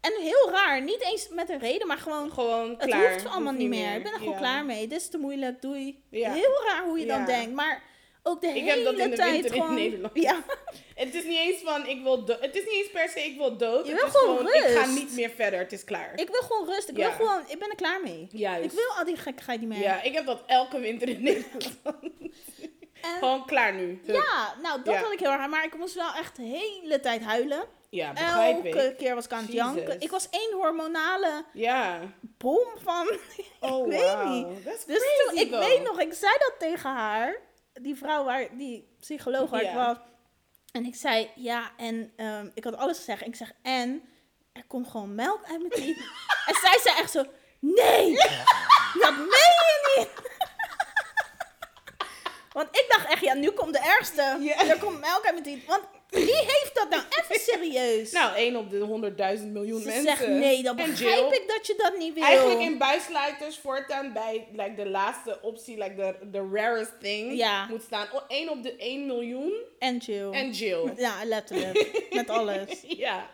S2: En heel raar, niet eens met een reden, maar gewoon
S1: gewoon
S2: Het
S1: klaar.
S2: hoeft allemaal niet meer. Ik ben er gewoon
S1: Ja.
S2: klaar mee. Dit is te moeilijk. Doei.
S1: Ja.
S2: Heel raar hoe je dan
S1: Ja.
S2: denkt. Maar ook de
S1: Ik
S2: hele
S1: heb dat in de
S2: tijd
S1: winter in
S2: gewoon...
S1: Nederland.
S2: Ja.
S1: Het is niet eens van ik wil dood. Het is niet eens per se ik wil dood.
S2: Je
S1: het
S2: wil
S1: is
S2: gewoon
S1: Ik ga
S2: rust.
S1: niet meer verder. Het is klaar.
S2: Ik wil gewoon rust. Ik
S1: Ja.
S2: wil gewoon... Ik ben er klaar mee.
S1: Juist.
S2: Ik wil al die gekkigheid niet meer.
S1: Ja, ik heb dat elke winter in Nederland.
S2: En-
S1: Gewoon klaar nu. Hup.
S2: Ja, nou dat
S1: Ja.
S2: had ik heel erg. Maar ik moest wel echt de hele tijd huilen.
S1: Ja, begrijp
S2: Elke
S1: ik.
S2: keer was ik aan het
S1: Jezus.
S2: janken. Ik was één hormonale
S1: Ja.
S2: bom van...
S1: Oh,
S2: weet
S1: wauw.
S2: niet.
S1: That's
S2: Dus
S1: crazy,
S2: toen, ik
S1: though.
S2: weet nog, ik zei dat tegen haar, die vrouw waar, die psycholoog waar ik
S1: Ja.
S2: was. En ik zei, ja, en ehm, ik had alles gezegd. En ik zeg, en er komt gewoon melk uit mijn tiet. en zij zei echt zo, nee, dat meen je niet. Want ik dacht echt, ja, nu komt de ergste.
S1: Ja.
S2: Er komt melk uit mijn tiet. Want wie heeft dat nou even serieus?
S1: Nou, 1 op de 100.000 miljoen
S2: Ze
S1: mensen.
S2: zegt, nee, dan
S1: En
S2: begrijp
S1: Jill,
S2: ik dat je dat niet wil.
S1: Eigenlijk in buisleiders voortaan bij like, de laatste optie, like the, the rarest thing,
S2: Ja. Oh.
S1: moet staan 1 op de 1 miljoen
S2: En Jill.
S1: en Jill.
S2: Ja, letterlijk. Met alles.
S1: ja.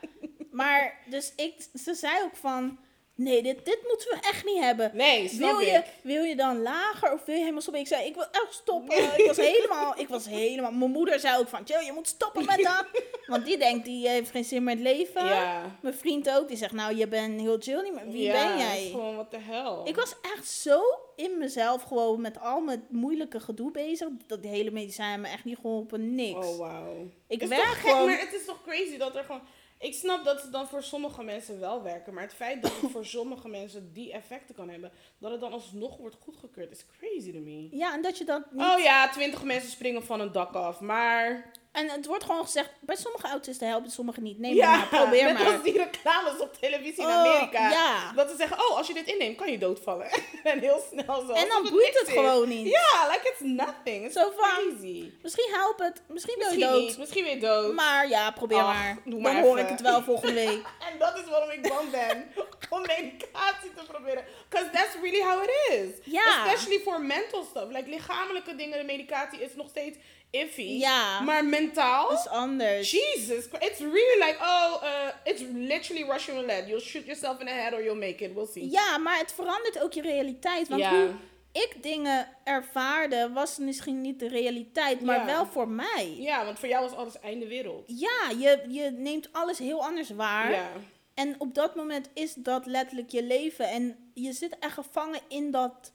S2: Maar dus ik, ze zei ook van, nee, dit, dit moeten we echt niet hebben.
S1: Nee, snap
S2: Wil
S1: ik.
S2: je, wil je dan lager of wil je helemaal stoppen? Ik zei, ik wil echt stoppen. Ik was helemaal, ik was helemaal... Mijn moeder zei ook van, Jill, je moet stoppen met dat. Want die denkt, die heeft geen zin meer in het leven.
S1: Ja.
S2: Mijn vriend ook, die zegt, nou, je bent heel Jill niet meer. Wie
S1: Ja,
S2: ben
S1: dat is
S2: jij?
S1: Gewoon, wat de hel.
S2: Ik was echt zo in mezelf gewoon met al mijn moeilijke gedoe bezig. Dat die hele medicijnen hebben me echt niet geholpen, niks.
S1: Oh, wauw.
S2: Ik
S1: Het is
S2: werk
S1: toch gek,
S2: gewoon...
S1: maar het is toch crazy dat er gewoon... Ik snap dat het dan voor sommige mensen wel werken, maar het feit dat het voor sommige mensen die effecten kan hebben, dat het dan alsnog wordt goedgekeurd, is crazy to me.
S2: Ja, en dat je dat niet...
S1: Oh ja, twintig mensen springen van een dak af, maar...
S2: En het wordt gewoon gezegd, bij sommige autisten helpt het, sommige niet. Neem
S1: ja,
S2: maar, probeer
S1: net
S2: maar.
S1: als die reclames op televisie in
S2: Oh,
S1: Amerika.
S2: ja.
S1: Dat ze zeggen, oh, als je dit inneemt, kan je doodvallen. en heel snel zo.
S2: En
S1: alsof
S2: dan boeit
S1: niks
S2: het
S1: is.
S2: gewoon niet.
S1: Ja, like it's nothing. It's
S2: Zo van,
S1: crazy.
S2: Misschien helpt het, misschien wil je
S1: Misschien
S2: dood.
S1: niet, misschien weer dood.
S2: Maar ja, probeer
S1: Ach,
S2: maar.
S1: doe
S2: Dan
S1: maar
S2: hoor
S1: even.
S2: ik het wel volgende week.
S1: En dat is waarom ik bang ben om medicatie te proberen. Because that's really how it is.
S2: Ja.
S1: Especially for mental stuff. Like lichamelijke dingen, de medicatie is nog steeds iffy.
S2: Ja.
S1: Maar mentaal?
S2: Dat is anders.
S1: Jesus Christ. It's really like, oh, uh, it's literally Russian roulette. You'll shoot yourself in the head or you'll make it. We'll see.
S2: Ja, maar het verandert ook je realiteit. Want
S1: Ja.
S2: hoe ik dingen ervaarde, was misschien niet de realiteit, maar
S1: Ja.
S2: wel voor mij.
S1: Ja, want voor jou was alles einde wereld.
S2: Ja, je, je neemt alles heel anders waar.
S1: Ja.
S2: En op dat moment is dat letterlijk je leven. En je zit echt gevangen in dat,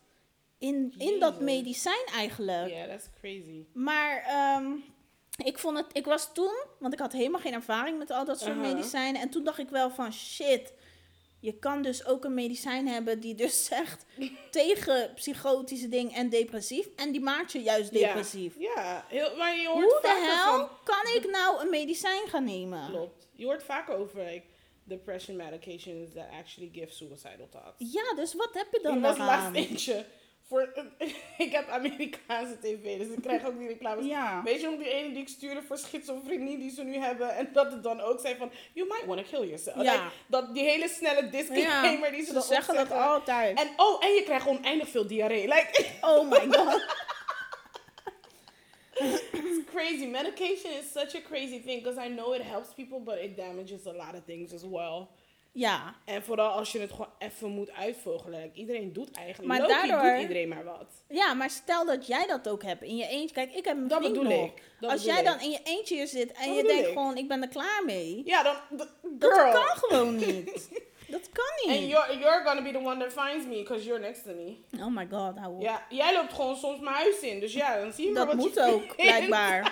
S2: in, in dat
S1: Jezus.
S2: medicijn eigenlijk.
S1: Ja, that's crazy.
S2: Maar ehm, ik vond het, ik was toen, want ik had helemaal geen ervaring met al dat soort
S1: Aha.
S2: medicijnen. En toen dacht ik wel van shit, je kan dus ook een medicijn hebben die dus zegt tegen psychotische dingen en depressief. En die maakt je juist depressief.
S1: Ja, heel, maar je hoort
S2: Hoe de
S1: vaker
S2: hel
S1: van-
S2: kan ik nou een medicijn gaan nemen?
S1: Klopt. Je hoort vaker over like, depression medications that actually give suicidal thoughts.
S2: Ja, dus wat heb je dan
S1: er was
S2: daaraan?
S1: laatst eentje. Voor, ik heb Amerikaanse tv, dus ik krijg ook die reclames.
S2: Ja.
S1: Weet je nog die ene die ik stuurde voor schizofrenie die ze nu hebben? En dat het dan ook zei van, you might want to kill yourself.
S2: Ja.
S1: Like, dat die hele snelle disclaimer die ze,
S2: ze
S1: dan
S2: zeggen dat
S1: opzetten.
S2: altijd.
S1: En oh, en je krijgt oneindig veel diarree. Like,
S2: Oh my god.
S1: it's crazy. Medication is such a crazy thing, because I know it helps people, but it damages a lot of things as well.
S2: Ja,
S1: En vooral als je het gewoon even moet uitvogelen. Like, iedereen doet eigenlijk.
S2: Maar
S1: Maar Loki
S2: daardoor-
S1: doet iedereen maar wat.
S2: Ja, maar stel dat jij dat ook hebt in je eentje. Kijk, ik heb een
S1: Dat
S2: vriend
S1: bedoel
S2: nog.
S1: ik. Dat
S2: Als
S1: bedoel
S2: jij
S1: ik.
S2: dan in je eentje hier zit en
S1: Dat
S2: je
S1: bedoel
S2: denkt
S1: ik.
S2: gewoon, ik ben er klaar mee.
S1: Ja, dan... d- Girl.
S2: Dat kan gewoon niet. dat kan
S1: And
S2: niet.
S1: you're, you're gonna be the one that finds me, because you're next to me.
S2: Oh my god, hou op.
S1: Ja, jij loopt gewoon soms mijn huis in. Dus ja, dan zie je maar
S2: dat
S1: wat
S2: moet
S1: je
S2: ook,
S1: vindt.
S2: blijkbaar.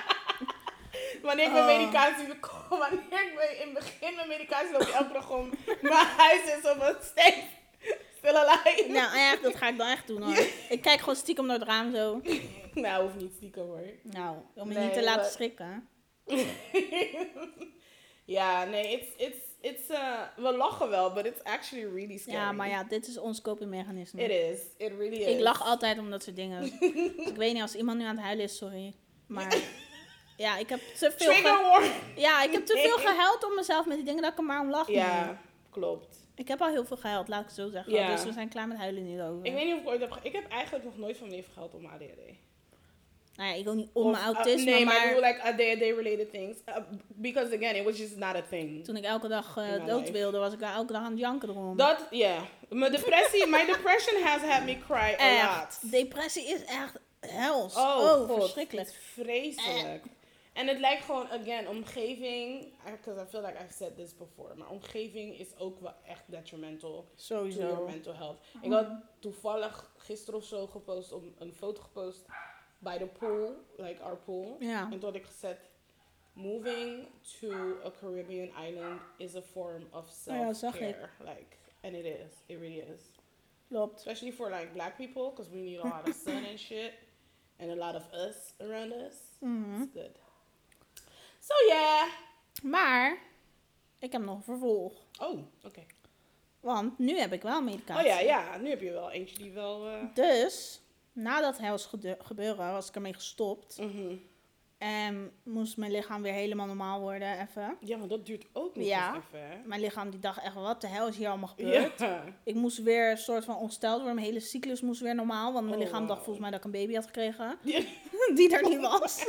S1: Wanneer ik mijn
S2: Oh.
S1: medicatie kom, wanneer ik me- in het begin mijn medicatie loop, ik elke dag gewoon mijn huis in, zo van steeds. Still alive.
S2: nou ja, dat ga ik dan echt doen hoor. Ik kijk gewoon stiekem door het raam zo.
S1: Nou, hoeft niet stiekem hoor.
S2: Nou, om je
S1: Nee,
S2: niet te laten
S1: maar-
S2: schrikken.
S1: ja, nee, it's, it's, it's, uh, we lachen wel, but it's actually really scary.
S2: Ja, maar ja, dit is ons copingmechanisme.
S1: It is. It really is.
S2: Ik lach altijd om dat soort dingen. Dus ik weet niet, als iemand nu aan het huilen is, sorry. Maar ja, ik heb te veel... ge-
S1: Trigger warning.
S2: Ja, ik heb te veel
S1: Nee.
S2: gehuild om mezelf met die dingen dat ik er maar om lach. nu.
S1: Ja, klopt.
S2: Ik heb al heel veel gehuild, laat ik het zo zeggen.
S1: Ja.
S2: Dus we zijn klaar met huilen nu over.
S1: Ik weet niet of ik ooit heb... ge- Ik heb eigenlijk nog nooit van mijn leven gehad om ADHD.
S2: Nou ja, ik wil niet om
S1: Of,
S2: mijn
S1: uh,
S2: autisme,
S1: nee,
S2: maar
S1: maar ik bedoel, like, ADHD-related things. Uh, because, again, it was just not a thing.
S2: toen ik elke dag eh,
S1: In mijn
S2: dood
S1: leven.
S2: wilde, was ik daar elke dag aan het janken erom.
S1: Dat, yeah. Mijn depressie... my depression has had me cry a lot.
S2: echt. Depressie is echt hels. Oh,
S1: God,
S2: verschrikkelijk.
S1: het is vreselijk. Eh. En het lijkt gewoon, again, omgeving. Because I feel like I've said this before. Maar omgeving is ook wel echt detrimental to your
S2: Sowieso.
S1: mental health.
S2: Oh.
S1: Ik had toevallig gisteren of zo gepost, om, een foto gepost bij de pool, like our pool.
S2: Ja.
S1: En toen had ik gezet, moving to a Caribbean island is a form of
S2: Oh ja, zag ik.
S1: self-care. like, and it is, it really is.
S2: Klopt.
S1: Especially for like black people, because we need a lot of sun and shit, and a lot of us around us.
S2: Mhm.
S1: It's good. So yeah.
S2: Maar, ik heb nog een vervolg.
S1: Oh, oké.
S2: Want nu heb ik wel medicatie.
S1: Oh ja, ja. Nu heb je wel eentje die wel. eh
S2: Dus, nadat hels gede- gebeuren, was ik ermee gestopt.
S1: mhm.
S2: En moest mijn lichaam weer helemaal normaal worden, even.
S1: Ja, maar dat duurt ook nog
S2: Ja.
S1: eens even. hè?
S2: Mijn lichaam die dacht echt, wat de hel is hier allemaal gebeurd?
S1: Ja.
S2: Ik moest weer een soort van ontsteld worden. Mijn hele cyclus moest weer normaal. Want mijn
S1: Oh,
S2: lichaam dacht
S1: wauw.
S2: volgens mij dat ik een baby had gekregen.
S1: Ja.
S2: Die er niet was.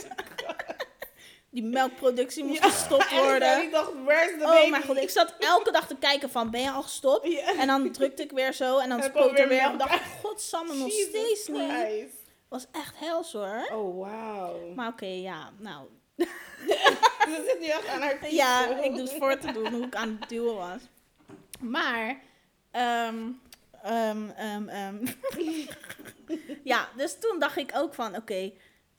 S2: Die melkproductie moest gestopt
S1: En
S2: worden.
S1: ik dacht, where's the baby?
S2: Oh mijn god, ik zat elke dag te kijken van, ben je al gestopt?
S1: Ja.
S2: En dan drukte ik weer zo en dan
S1: En dan
S2: spoot
S1: kwam
S2: er
S1: weer
S2: weer. En
S1: melk
S2: dacht ik, godsamme, nog
S1: Jesus
S2: steeds niet.
S1: Christ.
S2: Was echt hels hoor.
S1: Oh, wauw.
S2: Maar oké, ja, nou.
S1: Ze zit nu echt aan haar titel.
S2: Ja, ik doe het voor te doen hoe ik aan het duwen was. Maar, ehm, ehm, ehm, ehm. ja, dus toen dacht ik ook van, oké,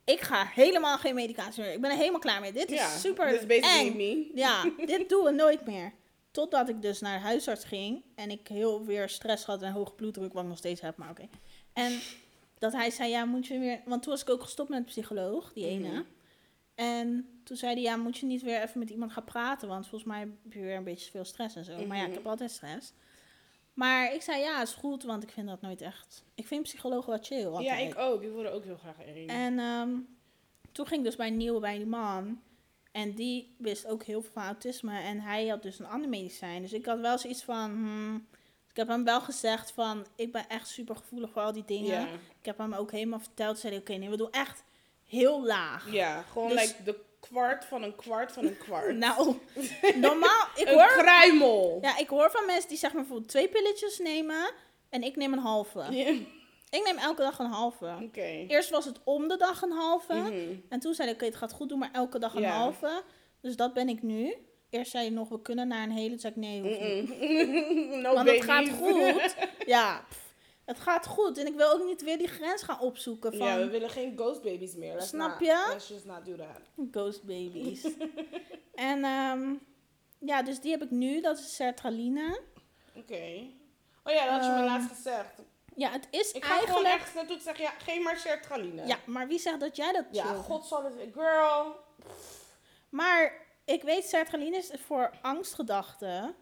S2: ik ga helemaal geen medicatie meer. Ik ben er helemaal klaar mee. Dit is
S1: Ja,
S2: super
S1: This basically
S2: eng.
S1: me.
S2: Ja, dit doen we nooit meer. Totdat ik dus naar de huisarts ging en ik heel weer stress had en hoge bloeddruk, wat ik nog steeds heb, maar oké. En dat hij zei, ja, moet je weer... Want toen was ik ook gestopt met een psycholoog, die ene.
S1: Mhm.
S2: En toen zei hij, ja, moet je niet weer even met iemand gaan praten, want volgens mij heb je weer een beetje veel stress en zo. Maar ja, ik
S1: Mhm.
S2: heb altijd stress. Maar ik zei, ja, is goed, want ik vind dat nooit echt... Ik vind psychologen wel chill.
S1: Ja,
S2: altijd.
S1: ik ook. Ik wilde ook heel graag een.
S2: En ehm, toen ging ik dus bij een nieuwe bij die man. En die wist ook heel veel van autisme. En hij had dus een ander medicijn. Dus ik had wel zoiets van... hmm, ik heb hem wel gezegd van... Ik ben echt super gevoelig voor al die dingen.
S1: ja.
S2: Ik heb hem ook helemaal verteld. Zei hij, oké, nee, we doen echt heel laag.
S1: ja, gewoon
S2: Dus-
S1: like de kwart van een kwart van een kwart.
S2: Nou, normaal... Ik
S1: een
S2: hoor,
S1: kruimel.
S2: ja, ik hoor van mensen die zeg maar bijvoorbeeld twee pilletjes nemen. En ik neem een halve.
S1: Ja,
S2: Ik neem elke dag een halve.
S1: Oké.
S2: Eerst was het om de dag een halve.
S1: Mhm.
S2: En toen zei ik, oké, het gaat goed doen, maar elke dag een
S1: Ja.
S2: halve. Dus dat ben ik nu. Eerst zei je nog, we kunnen naar een hele. Toen zei ik, nee, hoeft niet.
S1: Mm-mm. Mhm. no
S2: Want
S1: baby.
S2: het gaat goed. ja, pff, het gaat goed. En ik wil ook niet weer die grens gaan opzoeken van
S1: Ja, we willen geen ghost babies meer. Let's
S2: Snap
S1: not-
S2: je?
S1: Let's just not do that.
S2: ghost babies. en ehm, ja, dus die heb ik nu. Dat is sertraline.
S1: Oké. Oh ja, dat had je me
S2: Ehm,
S1: laatst gezegd.
S2: Ja, het is
S1: Ik ga gewoon
S2: eigenlijk...
S1: ergens naartoe en zeg, ja, geef maar sertraline.
S2: Ja, maar wie zegt dat jij dat
S1: Ja,
S2: chill
S1: god zal het... Girl.
S2: Maar ik weet, sertraline is voor angstgedachten.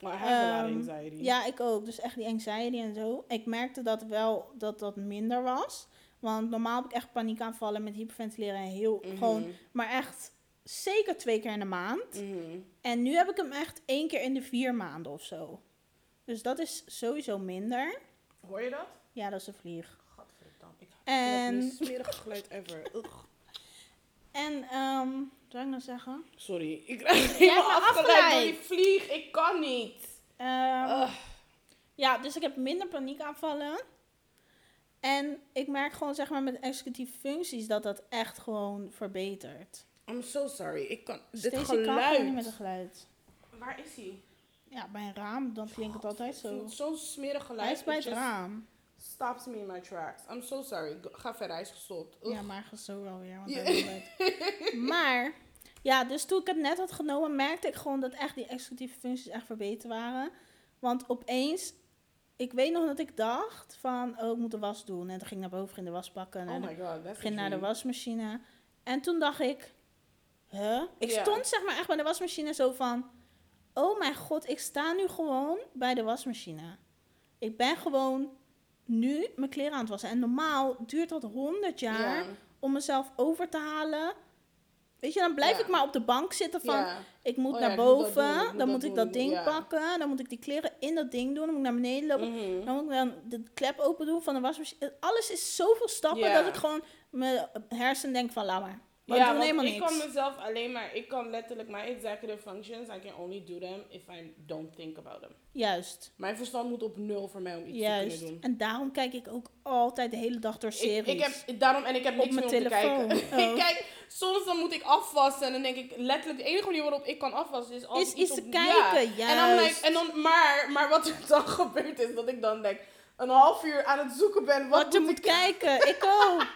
S1: Maar hij heeft
S2: Ehm,
S1: een lot of anxiety.
S2: Ja, ik ook. Dus echt die anxiety en zo. Ik merkte dat wel dat dat minder was. Want normaal heb ik echt paniekaanvallen met hyperventileren en heel
S1: Mhm.
S2: gewoon. Maar echt zeker twee keer in de maand.
S1: Mhm.
S2: En nu heb ik hem echt één keer in de vier maanden of zo. Dus dat is sowieso minder.
S1: Hoor je dat?
S2: Ja, dat is een vlieg.
S1: Gadverdamme. Ik heb
S2: En-
S1: het meest smerige geluid ever. Ugh.
S2: En, ehm, wat zou ik nou zeggen?
S1: Sorry, ik krijg
S2: hebt me
S1: helemaal afgeleid door die
S2: afgeleid.
S1: vlieg. Ik kan niet.
S2: Ehm,
S1: Ugh.
S2: Ja, dus ik heb minder paniekaanvallen. En ik merk gewoon, zeg maar, met executieve functies dat dat echt gewoon verbetert.
S1: I'm so sorry. Ik kan... dit
S2: Stacey kan gewoon niet
S1: geluid.
S2: met het geluid.
S1: Waar is hij?
S2: Ja, bij een raam, dan klinkt het altijd zo.
S1: Zo'n smerig geluid.
S2: Hij is bij
S1: it
S2: het
S1: just
S2: raam.
S1: Stops me in my tracks. I'm so sorry. Go- Ga verder, hij is gestopt. Ugh.
S2: Ja, maar gaat zo wel weer. Want
S1: Ja.
S2: hij wil het. maar, ja, dus toen ik het net had genomen, merkte ik gewoon dat echt die executieve functies echt verbeterd waren. Want opeens, ik weet nog dat ik dacht van, oh, ik moet de was doen. En toen ging ik naar boven, ging de was pakken. En
S1: Oh
S2: nou, dan
S1: my god, that's a
S2: Ik ging naar de
S1: dream.
S2: wasmachine. En toen dacht ik, huh? Ik
S1: Ja.
S2: stond zeg maar echt bij de wasmachine zo van, oh mijn god, ik sta nu gewoon bij de wasmachine. Ik ben gewoon nu mijn kleren aan het wassen. En normaal duurt dat 100 jaar
S1: Ja,
S2: om mezelf over te halen. Weet je, dan blijf
S1: Ja.
S2: ik maar op de bank zitten van,
S1: ja.
S2: ik moet
S1: Oh ja,
S2: naar
S1: ik moet dat
S2: boven,
S1: doen, ik moet
S2: dan
S1: dat
S2: moet ik
S1: doen,
S2: dat ding
S1: ja.
S2: pakken, dan moet ik die kleren in dat Nou, ding doen, dan moet ik naar beneden lopen.
S1: Mhm.
S2: Dan moet ik dan de klep open doen van de wasmachine. Alles is zoveel stappen
S1: Ja.
S2: dat ik gewoon mijn hersen denk van, laat maar. We
S1: Ja,
S2: doen
S1: want
S2: helemaal
S1: ik
S2: niks.
S1: kan mezelf alleen maar, ik kan letterlijk mijn executive functions, I can only do them if I don't think about them.
S2: Juist.
S1: Mijn verstand moet op nul voor mij om iets te
S2: Juist.
S1: kunnen doen.
S2: En daarom kijk ik ook altijd de hele dag door
S1: Ik,
S2: series.
S1: ik heb daarom en ik heb
S2: Op
S1: niks meer om
S2: mijn
S1: te kijken.
S2: telefoon. Oh.
S1: ik kijk, soms dan moet ik afwassen en dan denk ik letterlijk de enige manier waarop ik kan afwassen is als
S2: is
S1: ik
S2: iets te
S1: op-
S2: kijken,
S1: Ja.
S2: juist.
S1: En dan like, en dan maar, maar wat er dan gebeurt is dat ik dan denk een half uur aan het zoeken ben wat,
S2: wat, je
S1: moet
S2: moet
S1: ik
S2: kijken. ik ook.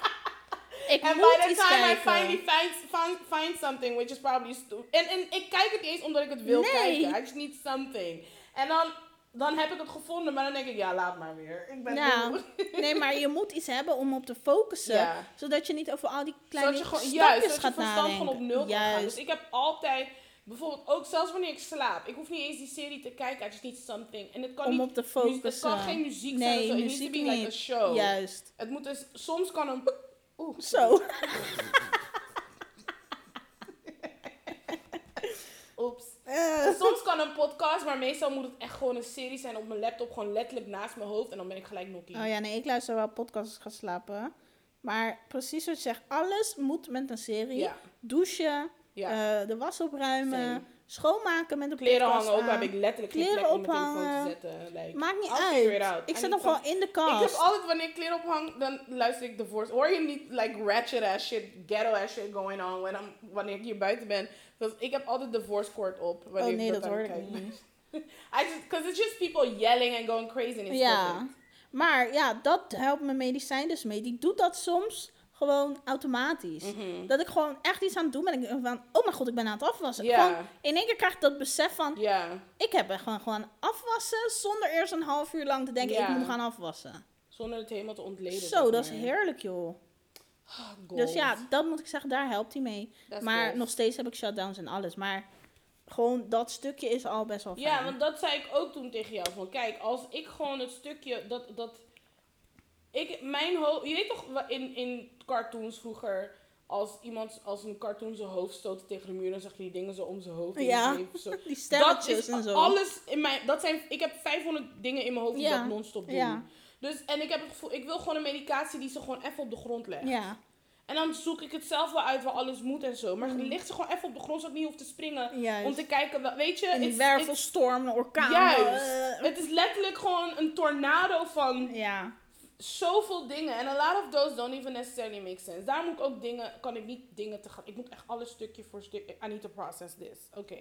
S2: Ik
S1: En
S2: moet
S1: by the
S2: iets
S1: time I
S2: kijken.
S1: finally find, find, find something, which is probably stupid. En, en ik kijk het niet eens omdat ik het wil
S2: Nee.
S1: kijken. I just need something. En dan, dan heb ik het gevonden, maar dan denk ik, ja, laat maar weer. Ik ben
S2: Ja.
S1: moe.
S2: Nee, maar je moet iets hebben om op te focussen.
S1: Ja.
S2: Zodat je niet over al die kleine
S1: Zodat je gewoon,
S2: stapjes
S1: juist, zodat je
S2: gaat
S1: verstand
S2: nadenken.
S1: gewoon op nul kan gaan.
S2: Juist.
S1: Dus ik heb altijd, bijvoorbeeld ook zelfs wanneer ik slaap, ik hoef niet eens die serie te kijken. I just need something. En het kan,
S2: om
S1: niet,
S2: op te
S1: muziek-
S2: focussen.
S1: het kan geen Oh. muziek zijn
S2: Nee,
S1: of zo. It
S2: muziek
S1: needs to be
S2: niet.
S1: like a show.
S2: Juist.
S1: Het moet dus, soms kan een... Oeh,
S2: Zo.
S1: Oeps.
S2: Eh.
S1: Soms kan een podcast, maar meestal moet het echt gewoon een serie zijn op mijn laptop. Gewoon letterlijk naast mijn hoofd. En dan ben ik gelijk nokkie.
S2: Oh ja, nee, ik luister wel podcasts als ik ga slapen. Maar precies wat je zegt, alles moet met een serie.
S1: Ja.
S2: douchen,
S1: Ja.
S2: eh, de was opruimen,
S1: Same.
S2: schoonmaken met de
S1: Kleren
S2: podcast
S1: hangen ook,
S2: aan.
S1: heb ik letterlijk geen
S2: Kleren
S1: plek om mijn telefoon te
S2: ophangen.
S1: zetten. Like,
S2: Maakt niet
S1: I'll figure it
S2: uit.
S1: out.
S2: Ik
S1: I
S2: zet hem
S1: need
S2: gewoon in de
S1: Ik heb
S2: kast.
S1: altijd, wanneer ik kleren ophang, dan luister ik The Voice. Hoor je niet, like, ratchet ass shit, ghetto ass shit going on when I'm, wanneer ik hier buiten ben. Dus ik heb altijd The Voice Court op. Wanneer
S2: Oh nee,
S1: ik
S2: dat
S1: aan het
S2: hoorde ik
S1: kijken ben.
S2: niet.
S1: I just, because it's just people yelling and going crazy and it's
S2: Ja.
S1: perfect.
S2: Maar ja, dat helpt mijn medicijn dus mee. Die doet dat soms gewoon automatisch.
S1: Mhm.
S2: Dat ik gewoon echt iets aan het doen ben. en Ik denk van, oh mijn god, ik ben aan het afwassen.
S1: Ja.
S2: Gewoon in één keer krijg ik dat besef van,
S1: Ja,
S2: ik heb er gewoon, gewoon afwassen. Zonder eerst een half uur lang te denken,
S1: Ja.
S2: ik moet gaan afwassen.
S1: zonder het helemaal te ontleden.
S2: Zo,
S1: zeg
S2: dat is
S1: maar.
S2: heerlijk joh.
S1: Ah,
S2: Dus
S1: gold.
S2: ja, dat moet ik zeggen, daar helpt hij mee.
S1: That's
S2: maar
S1: gold.
S2: nog steeds heb ik shutdowns en alles. Maar gewoon dat stukje is al best wel fijn.
S1: Ja, want dat zei ik ook toen tegen jou. Van kijk, als ik gewoon het stukje dat. dat ik, mijn hoofd. Je weet toch wa- in, in cartoons vroeger. Als iemand als een cartoon zijn hoofd stoot tegen de muur, dan zag je die dingen zo om zijn hoofd. heen
S2: Ja.
S1: zweven, zo.
S2: Die
S1: Dat
S2: sterretjes
S1: is
S2: en zo.
S1: alles in mijn. Dat zijn, ik heb 500 dingen in mijn hoofd die
S2: Ja.
S1: dat non-stop doen.
S2: Ja.
S1: Dus, en ik heb het gevoel, ik wil gewoon een medicatie die ze gewoon even op de grond legt.
S2: Ja,
S1: En dan zoek ik het zelf wel uit waar alles moet en zo. Maar ligt ze gewoon even op de grond, zodat ik niet hoef te springen.
S2: Mhm. juist.
S1: Om te kijken, wel- weet je,
S2: En die
S1: it's- it's-
S2: wervelstorm, een orkaan.
S1: eh, Juist.
S2: eh,
S1: Het is letterlijk gewoon een tornado van
S2: ja.
S1: zoveel dingen. En a lot of those don't even necessarily make sense. Daar moet ik ook dingen, kan ik niet dingen te gaan. Ik moet echt alles stukje voor stukje. I need to process this. Oké.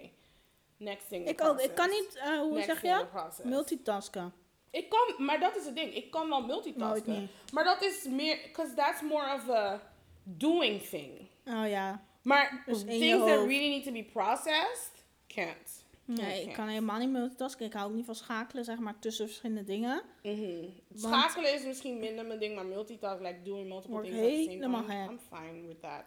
S1: Next thing. in
S2: Ik ook.
S1: process.
S2: Ik kan niet, eh, hoe
S1: Next
S2: zeg je
S1: thing in
S2: dat?
S1: process.
S2: Multitasken.
S1: ik kan, maar dat is het ding. Ik kan wel
S2: Nooit
S1: multitasken.
S2: niet.
S1: Maar dat is meer, because that's more of a doing thing.
S2: Oh ja.
S1: Maar
S2: Dus in je
S1: things that
S2: hoofd.
S1: really need to be processed, can't.
S2: Nee,
S1: Oké.
S2: ik kan helemaal niet multitasken. Ik hou ook niet van schakelen, zeg maar, tussen verschillende dingen.
S1: Mhm.
S2: Want-
S1: Schakelen is misschien minder mijn ding, maar multitask, like doing multiple
S2: Word
S1: things at the same
S2: helemaal
S1: time,
S2: gek.
S1: I'm fine with that.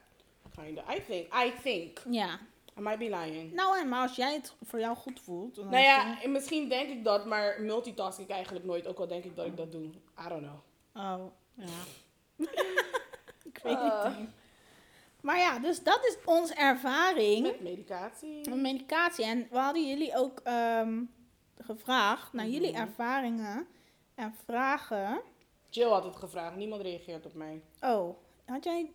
S1: Kinda. I think. I think.
S2: Ja.
S1: I might be lying.
S2: Nou en, maar als jij het voor jou goed voelt. Dan
S1: Nou
S2: is
S1: ja, misschien denk ik dat, maar multitask ik eigenlijk nooit. Ook al denk ik dat ik dat doe. I don't know.
S2: het- Oh, ja. ik weet
S1: Eh.
S2: niet. Maar ja, dus dat is onze ervaring.
S1: Met medicatie.
S2: Een medicatie. En we hadden jullie ook ehm, gevraagd naar jullie
S1: Mhm.
S2: ervaringen en vragen.
S1: Jill had het gevraagd. Niemand reageert op mij.
S2: Oh, had jij.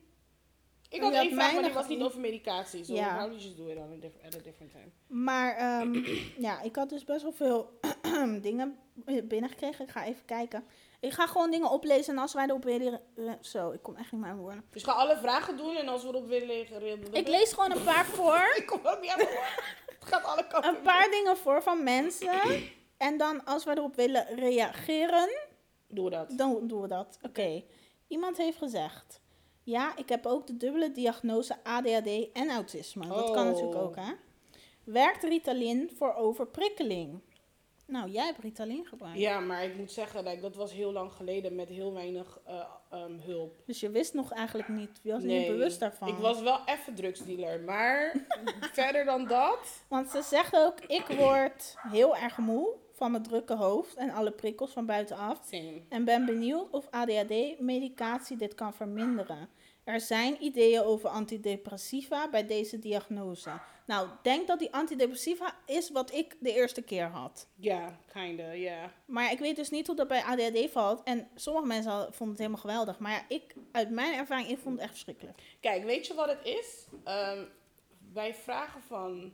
S1: Ik
S2: Oh,
S1: had
S2: je had
S1: één vraag,
S2: mij
S1: maar die
S2: nog
S1: was niet
S2: niet.
S1: over medicatie. So
S2: Ja.
S1: how did you do it on a diff- at a different time?
S2: Maar ehm, ja, ik had dus best wel veel dingen binnengekregen. Ik ga even kijken. Ik ga gewoon dingen oplezen en als wij erop willen. Zo, ik kom echt niet meer aan woorden.
S1: Dus ik ga alle vragen doen en als we erop willen reageren...
S2: Ik lees gewoon een paar voor.
S1: Ik kom ook niet aan de woorden. Het gaat alle kanten
S2: Een paar dingen voor van mensen. En dan als wij erop willen reageren.
S1: op. Doe dat.
S2: Dan doen we dat. Oké. Iemand heeft gezegd. Ja, ik heb ook de dubbele diagnose ADHD en autisme. Dat kan
S1: Oh.
S2: natuurlijk ook, hè? Werkt Ritalin voor overprikkeling? Nou, jij hebt Ritalin gebruikt.
S1: Ja, maar ik moet zeggen, like, dat was heel lang geleden met heel weinig eh, ehm, hulp.
S2: Dus je wist nog eigenlijk niet. Je was niet
S1: Nee,
S2: bewust daarvan.
S1: Ik was wel even drugsdealer, maar verder dan dat.
S2: Want ze zegt ook, ik word heel erg moe van mijn drukke hoofd en alle prikkels van buitenaf.
S1: Same.
S2: En ben benieuwd of ADHD-medicatie dit kan verminderen. Er zijn ideeën over antidepressiva bij deze diagnose. Nou, ik denk dat die antidepressiva is wat ik de eerste keer had.
S1: Ja, kinda, ja.
S2: Maar ik weet dus niet hoe dat bij ADHD valt. En sommige mensen al- vonden het helemaal geweldig. Maar ja, ik, uit mijn ervaring, ik vond het echt verschrikkelijk.
S1: Kijk, weet je wat het is? Ehm, wij vragen van,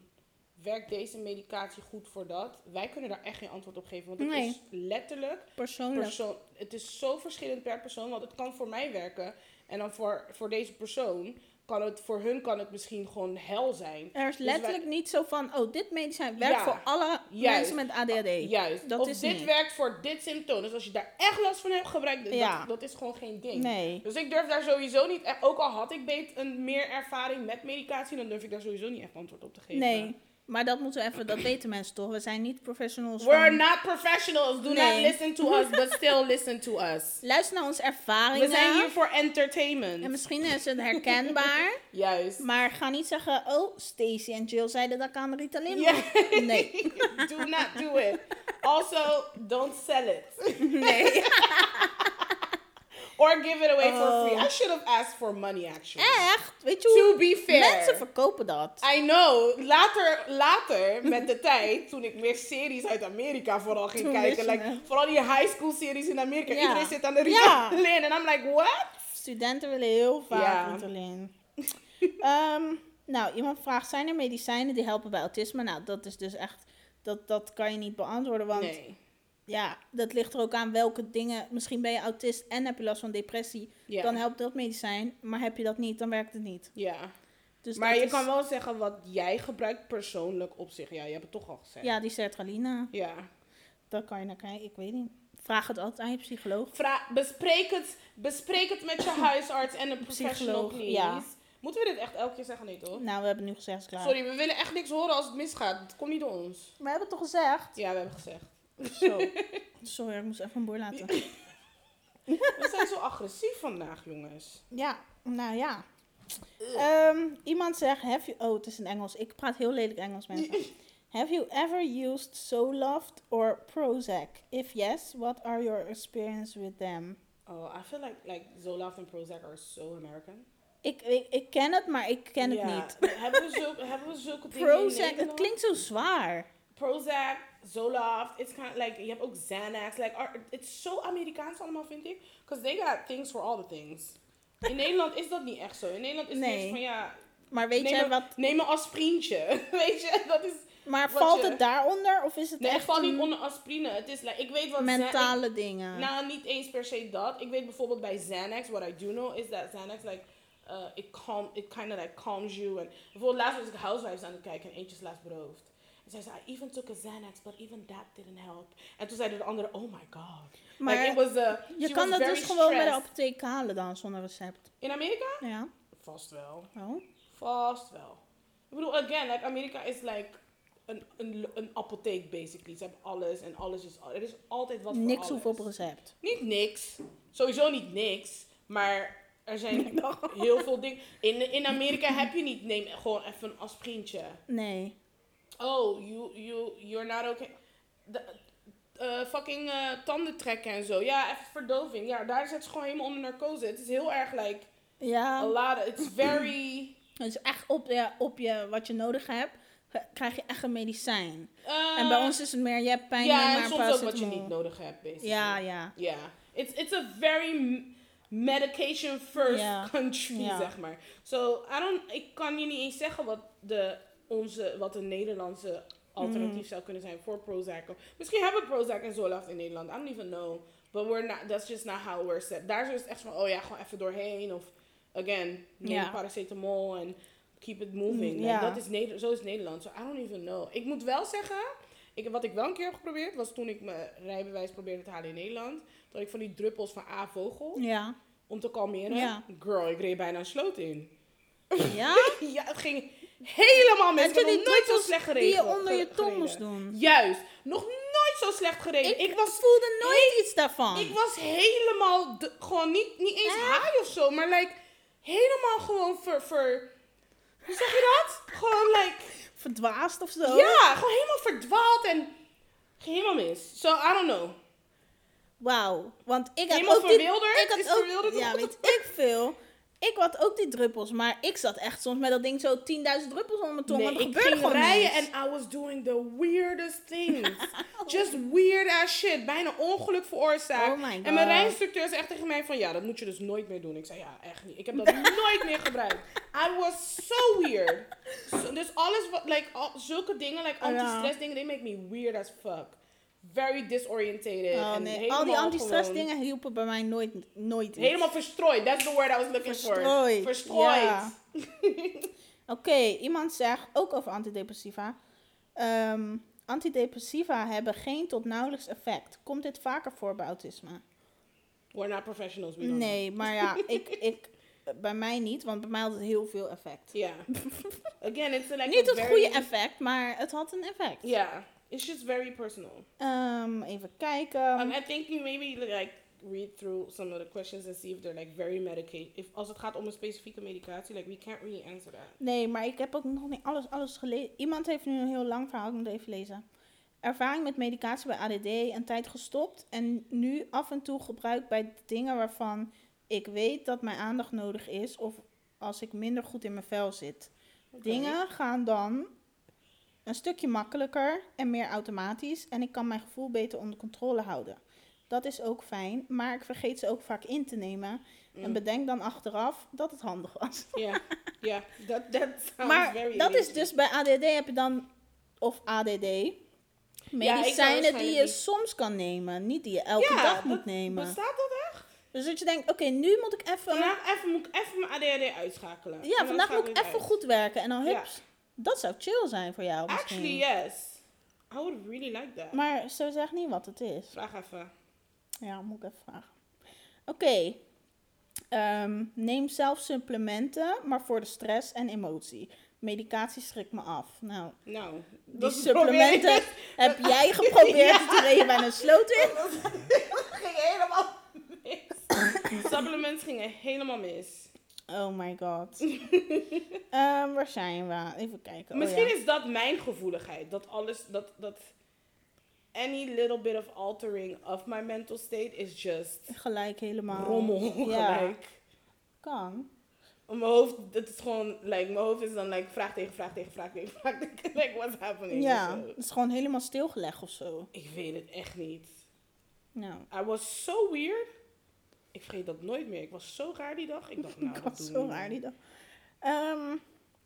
S1: werkt deze medicatie goed voor dat? Wij kunnen daar echt geen antwoord op geven, want het
S2: Nee. Oh,
S1: is letterlijk
S2: Persoonlijk.
S1: persoon. Het is zo verschillend per persoon, want het kan voor mij werken en dan voor, voor deze persoon kan het, voor hun kan het misschien gewoon hel zijn.
S2: er is
S1: Dus wij-
S2: letterlijk niet zo van, oh, dit medicijn werkt
S1: Ja,
S2: voor alle
S1: juist.
S2: mensen met ADHD.
S1: Juist.
S2: Dat
S1: of
S2: is
S1: dit
S2: niet.
S1: werkt voor dit symptoom. Dus als je daar echt last van hebt, gebruik dit.
S2: Ja.
S1: Dat, dat is gewoon geen ding.
S2: Nee.
S1: Dus ik durf daar sowieso niet echt, ook al had ik beet een meer ervaring met medicatie, dan durf ik daar sowieso niet echt antwoord op te geven.
S2: Nee. Maar dat moeten we even, dat weten mensen toch? We zijn niet professionals.
S1: We're
S2: van-
S1: not professionals. Do
S2: Nee.
S1: not listen to us, but still listen to us.
S2: Luister naar onze ervaringen.
S1: We zijn hier voor
S2: En
S1: entertainment.
S2: misschien is het herkenbaar.
S1: Juist.
S2: maar ga niet zeggen, oh, Stacey en Jill zeiden dat ik aan Ritalin
S1: Ja.
S2: was. Nee.
S1: Do not do it. Also, don't sell it.
S2: nee.
S1: Or give it away
S2: Oh.
S1: for free. I should have asked for money, actually.
S2: Echt? Weet je
S1: To
S2: hoe?
S1: be fair.
S2: Mensen verkopen dat.
S1: I know. Later, later met de tijd, toen ik meer series uit Amerika vooral ging
S2: Toen wist
S1: kijken.
S2: je
S1: Like,
S2: het.
S1: vooral die high school series in Amerika.
S2: Ja.
S1: Iedereen zit aan de
S2: Ja.
S1: Ritalin. En I'm like, what?
S2: Studenten willen heel vaak
S1: Ja.
S2: Ritalin. Ehm, Nou, iemand vraagt, zijn er medicijnen die helpen bij autisme? Nou, dat is dus echt, dat, dat kan je niet beantwoorden, want
S1: nee.
S2: ja, dat ligt er ook aan welke dingen. Misschien ben je autist en heb je last van depressie,
S1: Ja.
S2: dan helpt dat medicijn, maar heb je dat niet, dan werkt het niet.
S1: ja.
S2: Dus
S1: maar
S2: dat
S1: je
S2: is-
S1: kan wel zeggen wat jij gebruikt persoonlijk op zich. Ja, je hebt het toch al gezegd.
S2: Ja, die sertralina,
S1: ja.
S2: daar kan je naar kijken, ik weet niet. Vraag het altijd aan je psycholoog.
S1: Vra- bespreek, het, bespreek het met je huisarts en een professional,
S2: Psycholoog,
S1: please.
S2: ja.
S1: Moeten we dit echt elke keer zeggen? Nee, toch?
S2: Nou, we hebben nu gezegd, is klaar.
S1: Sorry, we willen echt niks horen als het misgaat. Het komt niet door ons.
S2: We hebben het toch gezegd?
S1: Ja, we hebben gezegd.
S2: Zo. Sorry, ik moest even een boer laten.
S1: We zijn zo agressief vandaag, jongens.
S2: Ja, nou ja.
S1: Eh.
S2: Ehm, iemand zegt, have you... Oh, het is in Engels. Ik praat heel lelijk Engels, mensen. Have you ever used Zoloft or Prozac? If yes, what are your experience with them?
S1: Oh, I feel like, like Zoloft en Prozac are so American.
S2: Ik, ik, ik ken het, maar ik ken
S1: Ja,
S2: het niet.
S1: Hebben we zulke, hebben we zulke dingen in
S2: Prozac, het
S1: Nederland?
S2: klinkt zo zwaar.
S1: Prozac, Zoloft. It's kind of like, je hebt ook Xanax. Like, are- it's so Amerikaans allemaal, vind ik. Because they got things for all the things. In Nederland is dat niet echt zo. In Nederland is het
S2: Nee.
S1: meer van, ja,
S2: Maar weet
S1: neem
S2: jij
S1: me,
S2: wat...
S1: neem me als vriendje. Weet je, dat is...
S2: Maar
S1: wat
S2: valt
S1: je-
S2: het daaronder? Of is het
S1: Nee, het
S2: echt
S1: valt
S2: een
S1: niet onder aspirine. Het is, like, ik weet wat... Xan-
S2: mentale dingen?
S1: Nou, niet eens per se dat. Ik weet bijvoorbeeld bij Xanax, what I do know is that Xanax like uh, it calm, it kind of like calms you. En bijvoorbeeld laatst was ik Housewives aan het kijken en eentje is laatst beroofd. En zij zei, I even took a Xanax, but even that didn't help. En toen zeiden de anderen, oh my god.
S2: Maar
S1: like, it was, uh,
S2: je
S1: she
S2: kan
S1: was
S2: dat dus
S1: very
S2: gewoon bij de
S1: stressed.
S2: apotheek halen dan, zonder recept.
S1: In Amerika?
S2: Ja,
S1: Vast wel.
S2: wel.
S1: Vast wel. Ik bedoel, again, like, Amerika is like een, een, een apotheek basically. Ze hebben alles en alles is... al- Er is altijd wat voor
S2: Niks hoeft op
S1: alles.
S2: recept.
S1: Niet niks. Sowieso niet niks. Maar er zijn heel veel dingen. In, in Amerika heb je niet. Neem gewoon even een aspirintje.
S2: Nee.
S1: Oh, you, you, you're not okay. De- eh, fucking eh, tanden trekken en zo. Ja, even verdoving. Ja, daar zit ze gewoon helemaal onder narcose. Het is heel erg like
S2: Ja,
S1: a lot. It's very.
S2: dus echt op, ja, op je, wat je nodig hebt, eh, krijg je echt een medicijn.
S1: eh,
S2: en bij ons is het meer, je hebt pijn, neem
S1: Ja,
S2: maar
S1: en
S2: een
S1: soms ook wat je
S2: paracetamol.
S1: niet nodig hebt, basically.
S2: Ja, ja.
S1: Ja, it's, it's a very m- medication first
S2: Ja.
S1: country,
S2: Ja.
S1: zeg maar. So, I don't, ik kan je niet eens zeggen wat de, onze, wat de Nederlandse
S2: Mm-hmm.
S1: alternatief zou kunnen zijn voor Prozac. Misschien hebben Prozac en Zoloft in Nederland, I don't even know. But we're not, that's just not how we're set. Daar is het echt van, oh ja, gewoon even doorheen. Of, again, neem
S2: Ja.
S1: paracetamol en keep it moving. Like,
S2: Ja.
S1: dat is Neder- zo is Nederland. So I don't even know. Ik moet wel zeggen, ik, wat ik wel een keer heb geprobeerd, was toen ik mijn rijbewijs probeerde te halen in Nederland. Dat ik van die druppels van A-vogel,
S2: Ja.
S1: om te kalmeren.
S2: Ja.
S1: Girl, ik reed bijna een sloot in.
S2: Ja?
S1: ja, het ging helemaal mis.
S2: Heb
S1: Ik
S2: je
S1: heb nog
S2: die
S1: nooit zo
S2: druppels
S1: slecht gereden.
S2: Die je onder je tong
S1: gereden.
S2: moest doen.
S1: Juist. Nog nooit zo slecht gereden.
S2: Ik,
S1: Ik, was,
S2: voelde nooit iets daarvan.
S1: ik was helemaal, de- gewoon niet, niet eens haai of zo, maar like, helemaal gewoon ver, ver... Hoe zeg je dat? Gewoon like...
S2: Verdwaasd of zo.
S1: Ja, gewoon helemaal verdwaald en ging helemaal mis. So, I don't know.
S2: Wauw. Want ik had
S1: Helemaal
S2: ook die,
S1: verwilderd?
S2: Ik had
S1: Is
S2: ook,
S1: verwilderd
S2: Ja,
S1: goed?
S2: weet ik veel. Ik had ook die druppels, maar ik zat echt soms met dat ding zo 10.000 druppels onder mijn tong. want er
S1: ik
S2: gebeurde
S1: ging
S2: gewoon
S1: rijden
S2: niks.
S1: en I was doing the weirdest things. Just weird ass shit. Bijna ongeluk veroorzaakt.
S2: Oh my
S1: En mijn
S2: God.
S1: rijinstructeur zei echt tegen mij van, ja, dat moet je dus nooit meer doen. Ik zei, ja, echt niet. Ik heb dat nooit meer gebruikt. I was so weird. So, dus alles wat, like, al- zulke dingen, like
S2: Oh, Ja.
S1: anti-stress dingen, they make me weird as fuck. Very disorientated.
S2: Oh,
S1: en
S2: nee.
S1: helemaal
S2: Al die anti-stress
S1: gewoon-
S2: dingen hielpen bij mij nooit, nooit iets.
S1: Helemaal verstrooid. That's the word I was looking
S2: verstrooid.
S1: for. Verstrooid.
S2: ja. Oké, iemand zegt, ook over antidepressiva. ehm, antidepressiva hebben geen tot nauwelijks effect. Komt dit vaker voor bij autisme?
S1: We're not professionals. We don't
S2: Nee, maar ja, ik, ik, bij mij niet, want bij mij had het heel veel effect.
S1: know. Yeah. Again, it's like
S2: Niet
S1: a
S2: het
S1: very-
S2: goede effect, maar het had een effect.
S1: Yeah. It's just very personal.
S2: Ehm, even kijken.
S1: Um, I think you maybe like read through some of the questions and see if they're like very medicated. If als het gaat om een specifieke medicatie, like we can't really answer that.
S2: Nee, maar ik heb ook nog niet alles, alles gelezen. Iemand heeft nu een heel lang verhaal, ik moet even lezen. Ervaring met medicatie bij ADD, een tijd gestopt en nu af en toe gebruikt bij dingen waarvan ik weet dat mijn aandacht nodig is of als ik minder goed in mijn vel zit.
S1: Oké.
S2: Dingen gaan dan een stukje makkelijker en meer automatisch en ik kan mijn gevoel beter onder controle houden. Dat is ook fijn, maar ik vergeet ze ook vaak in te nemen. En
S1: Mm.
S2: bedenk dan achteraf dat het handig was.
S1: Ja, ja, dat dat sounds
S2: maar
S1: Oh, very
S2: dat is
S1: amazing.
S2: dus bij ADD heb je dan, of ADD, medicijnen die je
S1: waarschijnlijk
S2: soms kan nemen. Niet die je elke
S1: Ja,
S2: dag moet
S1: dat
S2: nemen.
S1: Bestaat dat echt?
S2: Dus dat je denkt, oké, nu moet ik even...
S1: Vandaag even moet ik even mijn ADHD uitschakelen. En
S2: ja,
S1: dan
S2: vandaag moet
S1: schakel
S2: ik
S1: het
S2: even
S1: uit.
S2: goed werken. En dan
S1: Ja.
S2: hups. Dat zou chill zijn voor jou misschien.
S1: Actually, yes. I would really like that.
S2: Maar ze zegt niet wat het is.
S1: Vraag even.
S2: Ja, moet ik even vragen. Oké. Ehm, neem zelf supplementen, maar voor de stress en emotie. Medicatie schrikt me af. Nou,
S1: Nou,
S2: die
S1: dat is het
S2: supplementen
S1: probleem.
S2: heb jij geprobeerd te reden bij een sloot in.
S1: Dat ging helemaal mis. Supplements gingen helemaal mis.
S2: Oh my god. Ehm, waar zijn we? Even kijken. Oh
S1: Misschien
S2: ja.
S1: is dat mijn gevoeligheid. Dat alles, dat, dat any little bit of altering of my mental state is just
S2: Gelijk helemaal.
S1: rommel
S2: Ja.
S1: gelijk.
S2: Kan.
S1: Mijn hoofd, het is gewoon, like, mijn hoofd is dan like, vraag tegen vraag tegen vraag tegen vraag tegen, like, what's happening?
S2: Ja,
S1: Zo.
S2: het is gewoon helemaal stilgelegd of zo.
S1: Ik weet het echt niet.
S2: Nou,
S1: I was so weird. Ik vergeet dat nooit meer. Ik was zo raar die dag. Ik dacht, nou,
S2: ik
S1: dat
S2: was
S1: doen
S2: zo
S1: we
S2: raar
S1: niet.
S2: die dag. Ehm,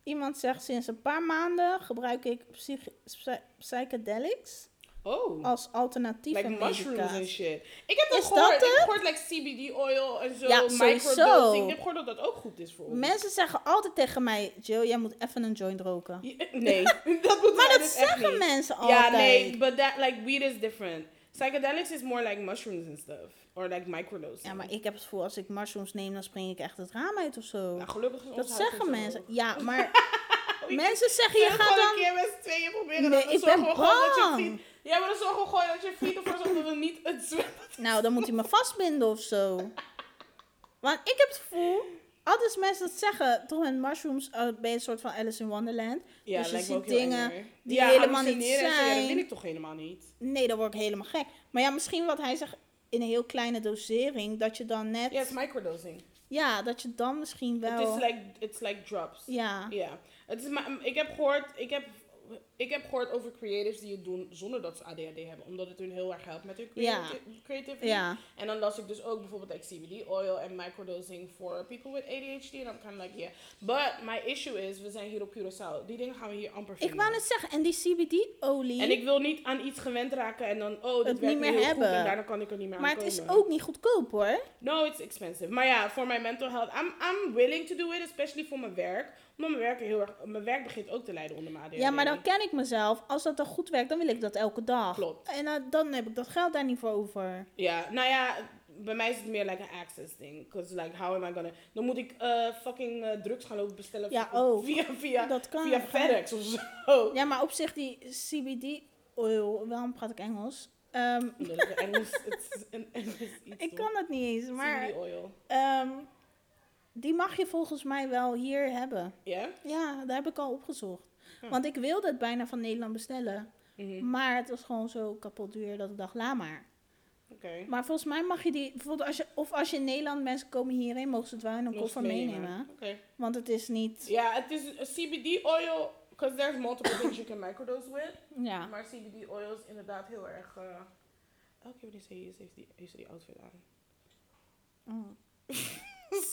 S2: iemand zegt, sinds een paar maanden gebruik ik psych- psy- psychedelics
S1: Oh,
S2: als alternatieve
S1: like mushrooms en
S2: medicatie.
S1: shit. Ik heb dat
S2: Is
S1: gehoord.
S2: dat
S1: ik heb gehoord like CBD oil en zo,
S2: Ja, sowieso.
S1: microdosing. Ik heb gehoord dat dat ook goed is voor ons.
S2: Mensen zeggen altijd tegen mij, Jill, jij moet even een joint roken.
S1: Je- nee, dat moet dus
S2: maar dat zeggen mensen altijd.
S1: Ja, nee, but that, like, weed is different. Psychedelics is more like mushrooms and stuff. Or like microdosing.
S2: Ja, maar ik heb het gevoel, als ik mushrooms neem, dan spring ik echt het raam uit of zo.
S1: Nou, gelukkig is ons
S2: dat
S1: huis
S2: zeggen
S1: niet zo
S2: mensen.
S1: hoog.
S2: Ja, maar mensen zeggen, je
S1: Zullen we
S2: gaat
S1: gewoon
S2: dan...
S1: een keer met z'n tweeën proberen.
S2: Nee,
S1: dat
S2: ik
S1: we zorgen
S2: ben
S1: we gewoon dat je
S2: bang.
S1: vriend- Ja, maar dan zorgen we gewoon dat je vriend ervoor zorgt dat we niet het zwemmen.
S2: Nou, dan moet hij me vastbinden of zo. Want ik heb het gevoel, altijd als mensen dat zeggen, toch met mushrooms eh, ben je een soort van Alice in Wonderland.
S1: Ja,
S2: Dus je
S1: lijkt me
S2: ziet
S1: ook heel eng,
S2: dingen
S1: hoor.
S2: die
S1: Ja,
S2: helemaal niet
S1: hallucineren en zo, Ja,
S2: zijn.
S1: dat wil ik toch helemaal niet.
S2: Nee, dan word ik helemaal gek. Maar ja, misschien wat hij zegt in een heel kleine dosering, dat je dan net,
S1: Ja, het is microdosing.
S2: ja, dat je dan misschien
S1: Het
S2: wel,
S1: is like, it's like drops.
S2: ja,
S1: Ja, het is maar, mm, ik heb gehoord, ik heb, ik heb gehoord over creatives die het doen zonder dat ze ADHD hebben, omdat het hun heel erg helpt met hun
S2: Ja.
S1: creati- creativity.
S2: ja,
S1: En dan las ik dus ook bijvoorbeeld like CBD oil en microdosing for people with ADHD. En I'm kind of like, yeah. But my issue is, we zijn hier op Curaçao. Die dingen gaan we hier amper
S2: ik
S1: vinden.
S2: wou net zeggen, en die CBD-olie,
S1: En ik wil niet aan iets gewend raken en dan, oh, dit
S2: Het
S1: werkt
S2: niet meer
S1: niet heel
S2: hebben.
S1: goed en daarna kan ik er niet meer
S2: maar
S1: aan
S2: het is
S1: komen.
S2: ook niet goedkoop hoor.
S1: No, it's expensive. Maar ja, voor mijn mental health, I'm, I'm willing to do it, especially voor mijn werk. Omdat mijn werk, heel erg, mijn werk begint ook te lijden onder mijn ADHD.
S2: Ja, maar dan ken ik mezelf. Als dat dan goed werkt, dan wil ik dat elke dag.
S1: Klopt.
S2: En eh, dan heb ik dat geld daar niet voor over.
S1: Ja, nou ja, bij mij is het meer like een access ding. Cause like, how am I gonna... Dan moet ik eh, fucking eh, drugs gaan lopen bestellen
S2: Ja,
S1: via,
S2: ook.
S1: via, via,
S2: dat kan.
S1: via FedEx of zo.
S2: Ja, maar op zich die CBD oil, oh, waarom praat ik Engels? Ehm,
S1: Omdat het Engels, het is een Engels iets.
S2: ik
S1: hoor.
S2: kan het niet eens, maar
S1: CBD oil.
S2: ehm, die mag je volgens mij wel hier hebben.
S1: Ja?
S2: Ja, daar heb ik al opgezocht.
S1: Hm.
S2: Want ik wilde het bijna van Nederland bestellen.
S1: Mhm.
S2: Maar het was gewoon zo kapot duur dat ik dacht, la maar.
S1: Oké.
S2: Maar volgens mij mag je die, bijvoorbeeld als je, of als je in Nederland mensen komen hierheen, mogen ze het wel in een
S1: Nog
S2: koffer
S1: meenemen.
S2: meenemen.
S1: Oké.
S2: Want het is niet,
S1: Ja, het is een CBD oil, because there's multiple things you can microdose with.
S2: ja.
S1: Maar CBD oil is inderdaad heel erg. eh, elke keer wanneer ze hier is, heeft, die, heeft ze die outfit aan.
S2: Oh.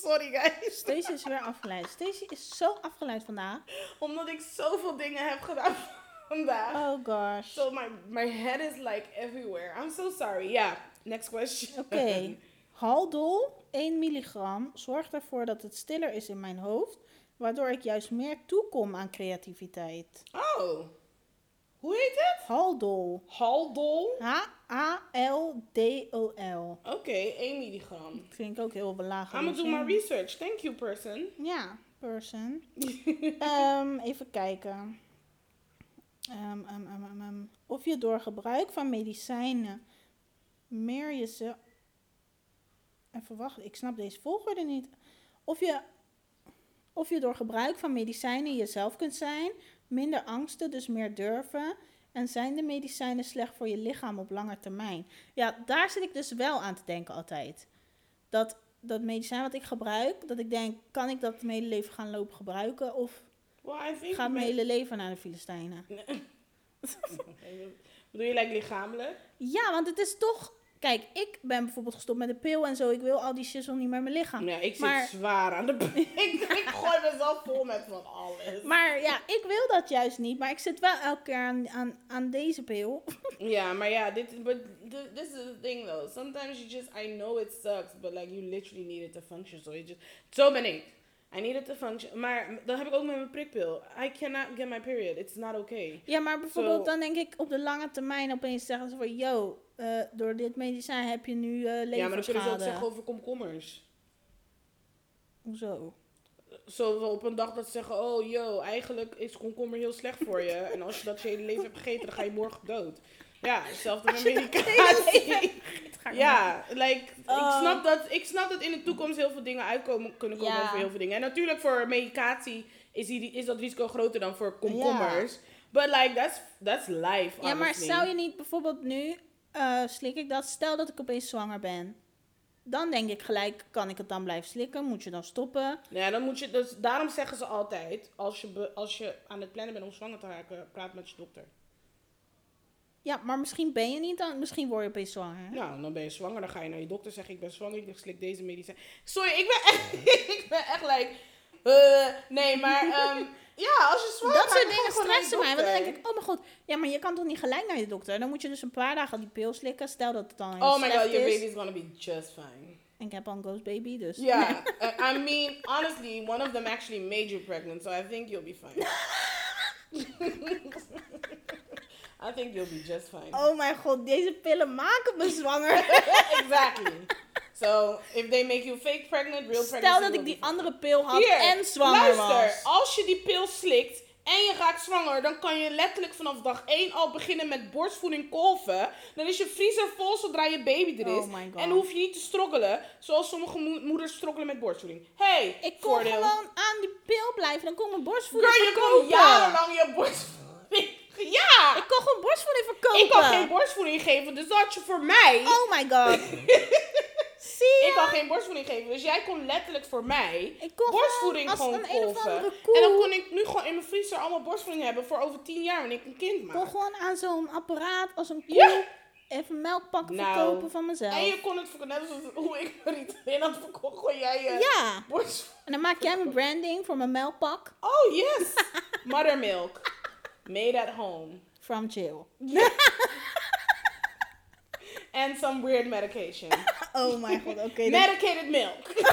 S1: Sorry guys.
S2: Stacey is weer afgeleid. Stacey is zo afgeleid vandaag.
S1: Omdat ik zoveel dingen heb gedaan vandaag.
S2: Oh gosh.
S1: So my, my head is like everywhere. I'm so sorry. Yeah. Next question.
S2: Oké. Haldol, 1 milligram, zorgt ervoor dat het stiller is in mijn hoofd, waardoor ik juist meer toekom aan creativiteit.
S1: Oh. Hoe heet het?
S2: Haldol.
S1: Haldol.
S2: H-A-L-D-O-L.
S1: Oké, 1 milligram.
S2: Dat vind ik ook heel belagelijk.
S1: I'm gonna do
S2: hè?
S1: my research. Thank you, person.
S2: Ja, person. Ehm, even kijken. Ehm, ehm, ehm, ehm, ehm. Of je door gebruik van medicijnen meer jezelf. Even wachten, ik snap deze volgorde niet. Of je, of je door gebruik van medicijnen jezelf kunt zijn, minder angsten, dus meer durven. En zijn de medicijnen slecht voor je lichaam op lange termijn? Ja, daar zit ik dus wel aan te denken altijd. Dat, dat medicijn wat ik gebruik, dat ik denk, kan ik dat mijn hele leven gaan lopen gebruiken? Of
S1: Well, I think...
S2: gaat mijn
S1: me-
S2: hele leven naar de Filistijnen?
S1: Bedoel je like lichamelijk?
S2: Ja, want het is toch Kijk, ik ben bijvoorbeeld gestopt met de pil en zo. Ik wil al die shizzle niet meer in mijn lichaam.
S1: Ja, ik zit
S2: Maar-
S1: zwaar aan de... ik, ik gooi mezelf vol met van alles.
S2: Maar ja, ik wil dat juist niet. Maar ik zit wel elke keer aan, aan, aan deze pil.
S1: Yeah, maar yeah, this, but th- this is the thing though. Sometimes you just, I know it sucks, but like you literally need it to function. So it just, zo ben ik. I need it to function. Maar dat heb ik ook met mijn prikpil. I cannot get my period. It's not okay.
S2: Ja, maar bijvoorbeeld
S1: Zo.
S2: dan denk ik op de lange termijn opeens zeggen ze van... Yo, eh, door dit medicijn heb je nu eh
S1: Ja, maar dan kunnen ze ook
S2: leverschade.
S1: zeggen over komkommers.
S2: Hoezo?
S1: Zo op een dag dat ze zeggen, oh yo, eigenlijk is komkommer heel slecht voor je. en als je dat je hele leven hebt gegeten, dan ga je morgen dood. Ja, hetzelfde met
S2: Als je dat
S1: medicatie.
S2: Het gaat
S1: Ja, like,
S2: Oh.
S1: ik, snap dat, ik snap dat in de toekomst heel veel dingen uitkomen kunnen komen
S2: Ja.
S1: over heel veel dingen. En natuurlijk voor medicatie is, die, is dat risico groter dan voor komkommers. But like, that's, that's life,
S2: Ja, maar
S1: honestly.
S2: zou je niet bijvoorbeeld nu, eh, slik ik dat, stel dat ik opeens zwanger ben. Dan denk ik gelijk, kan ik het dan blijven slikken? Moet je dan stoppen?
S1: Ja, dan moet je, dus daarom zeggen ze altijd, als je, be- als je aan het plannen bent om zwanger te raken, praat met je dokter.
S2: Ja, maar misschien ben je niet dan, misschien word je opeens zwanger. hè?
S1: Nou, dan ben je zwanger, dan ga je naar je dokter zeggen, ik ben zwanger, ik slik deze medicijn. Sorry, ik ben echt, ik ben echt like, eh, nee, maar ehm, ja, als je zwanger
S2: Dat
S1: raakt,
S2: soort
S1: ga
S2: dingen
S1: gewoon naar je
S2: stressen mij. Want dan
S1: dokter.
S2: denk ik, oh mijn god, ja, maar je kan toch niet gelijk naar je dokter? Dan moet je dus een paar dagen die pil slikken. Stel dat het dan heel
S1: Oh my god,
S2: slecht
S1: your
S2: is.
S1: baby's gonna be just fine.
S2: En ik heb al een ghost baby, dus.
S1: Yeah, I- I mean, honestly, one of them actually made you pregnant, so I think you'll be fine. I think you'll be just fine.
S2: Oh mijn god, deze pillen maken me zwanger.
S1: exactly. So if they make you fake pregnant, real pregnant.
S2: Stel dat ik die andere pil had en zwanger
S1: luister,
S2: was.
S1: als je die pil slikt en je raakt zwanger, dan kan je letterlijk vanaf dag 1 al beginnen met borstvoeding kolven. Dan is je vriezer vol zodra je baby er is.
S2: Oh my god.
S1: en hoef je niet te strokkelen, zoals sommige moe- moeders strokkelen met borstvoeding. hey,
S2: Ik kon
S1: voordeel.
S2: gewoon aan die pil blijven. Dan kon ik mijn borstvoeding
S1: Girl, je kon
S2: verkopen.
S1: jarenlang je borstvoeding... Ja!
S2: Ik kon gewoon borstvoeding verkopen.
S1: Ik kan geen borstvoeding geven, dus dat had je voor mij...
S2: Oh my god. Zie je?
S1: Ik kan geen borstvoeding geven, dus jij kon letterlijk voor mij
S2: Ik kon
S1: borstvoeding
S2: gewoon
S1: gewoon
S2: als een een of
S1: kolven.
S2: andere koe.
S1: En dan kon ik nu gewoon in mijn vriezer allemaal borstvoeding hebben voor over 10 jaar wanneer ik een kind
S2: kon
S1: maak.
S2: gewoon aan zo'n apparaat als een koe
S1: Ja.
S2: even melkpakken
S1: Nou.
S2: verkopen van mezelf.
S1: En je kon het verkopen, net zoals hoe ik er niet in had verkocht, kon jij je
S2: Ja.
S1: borstvoeding...
S2: En dan maak jij mijn branding voor mijn melkpak
S1: Oh yes! Mothermilk. Made at home.
S2: from Jill.
S1: And some weird medication.
S2: Oh my god, oké. dit,
S1: Medicated milk.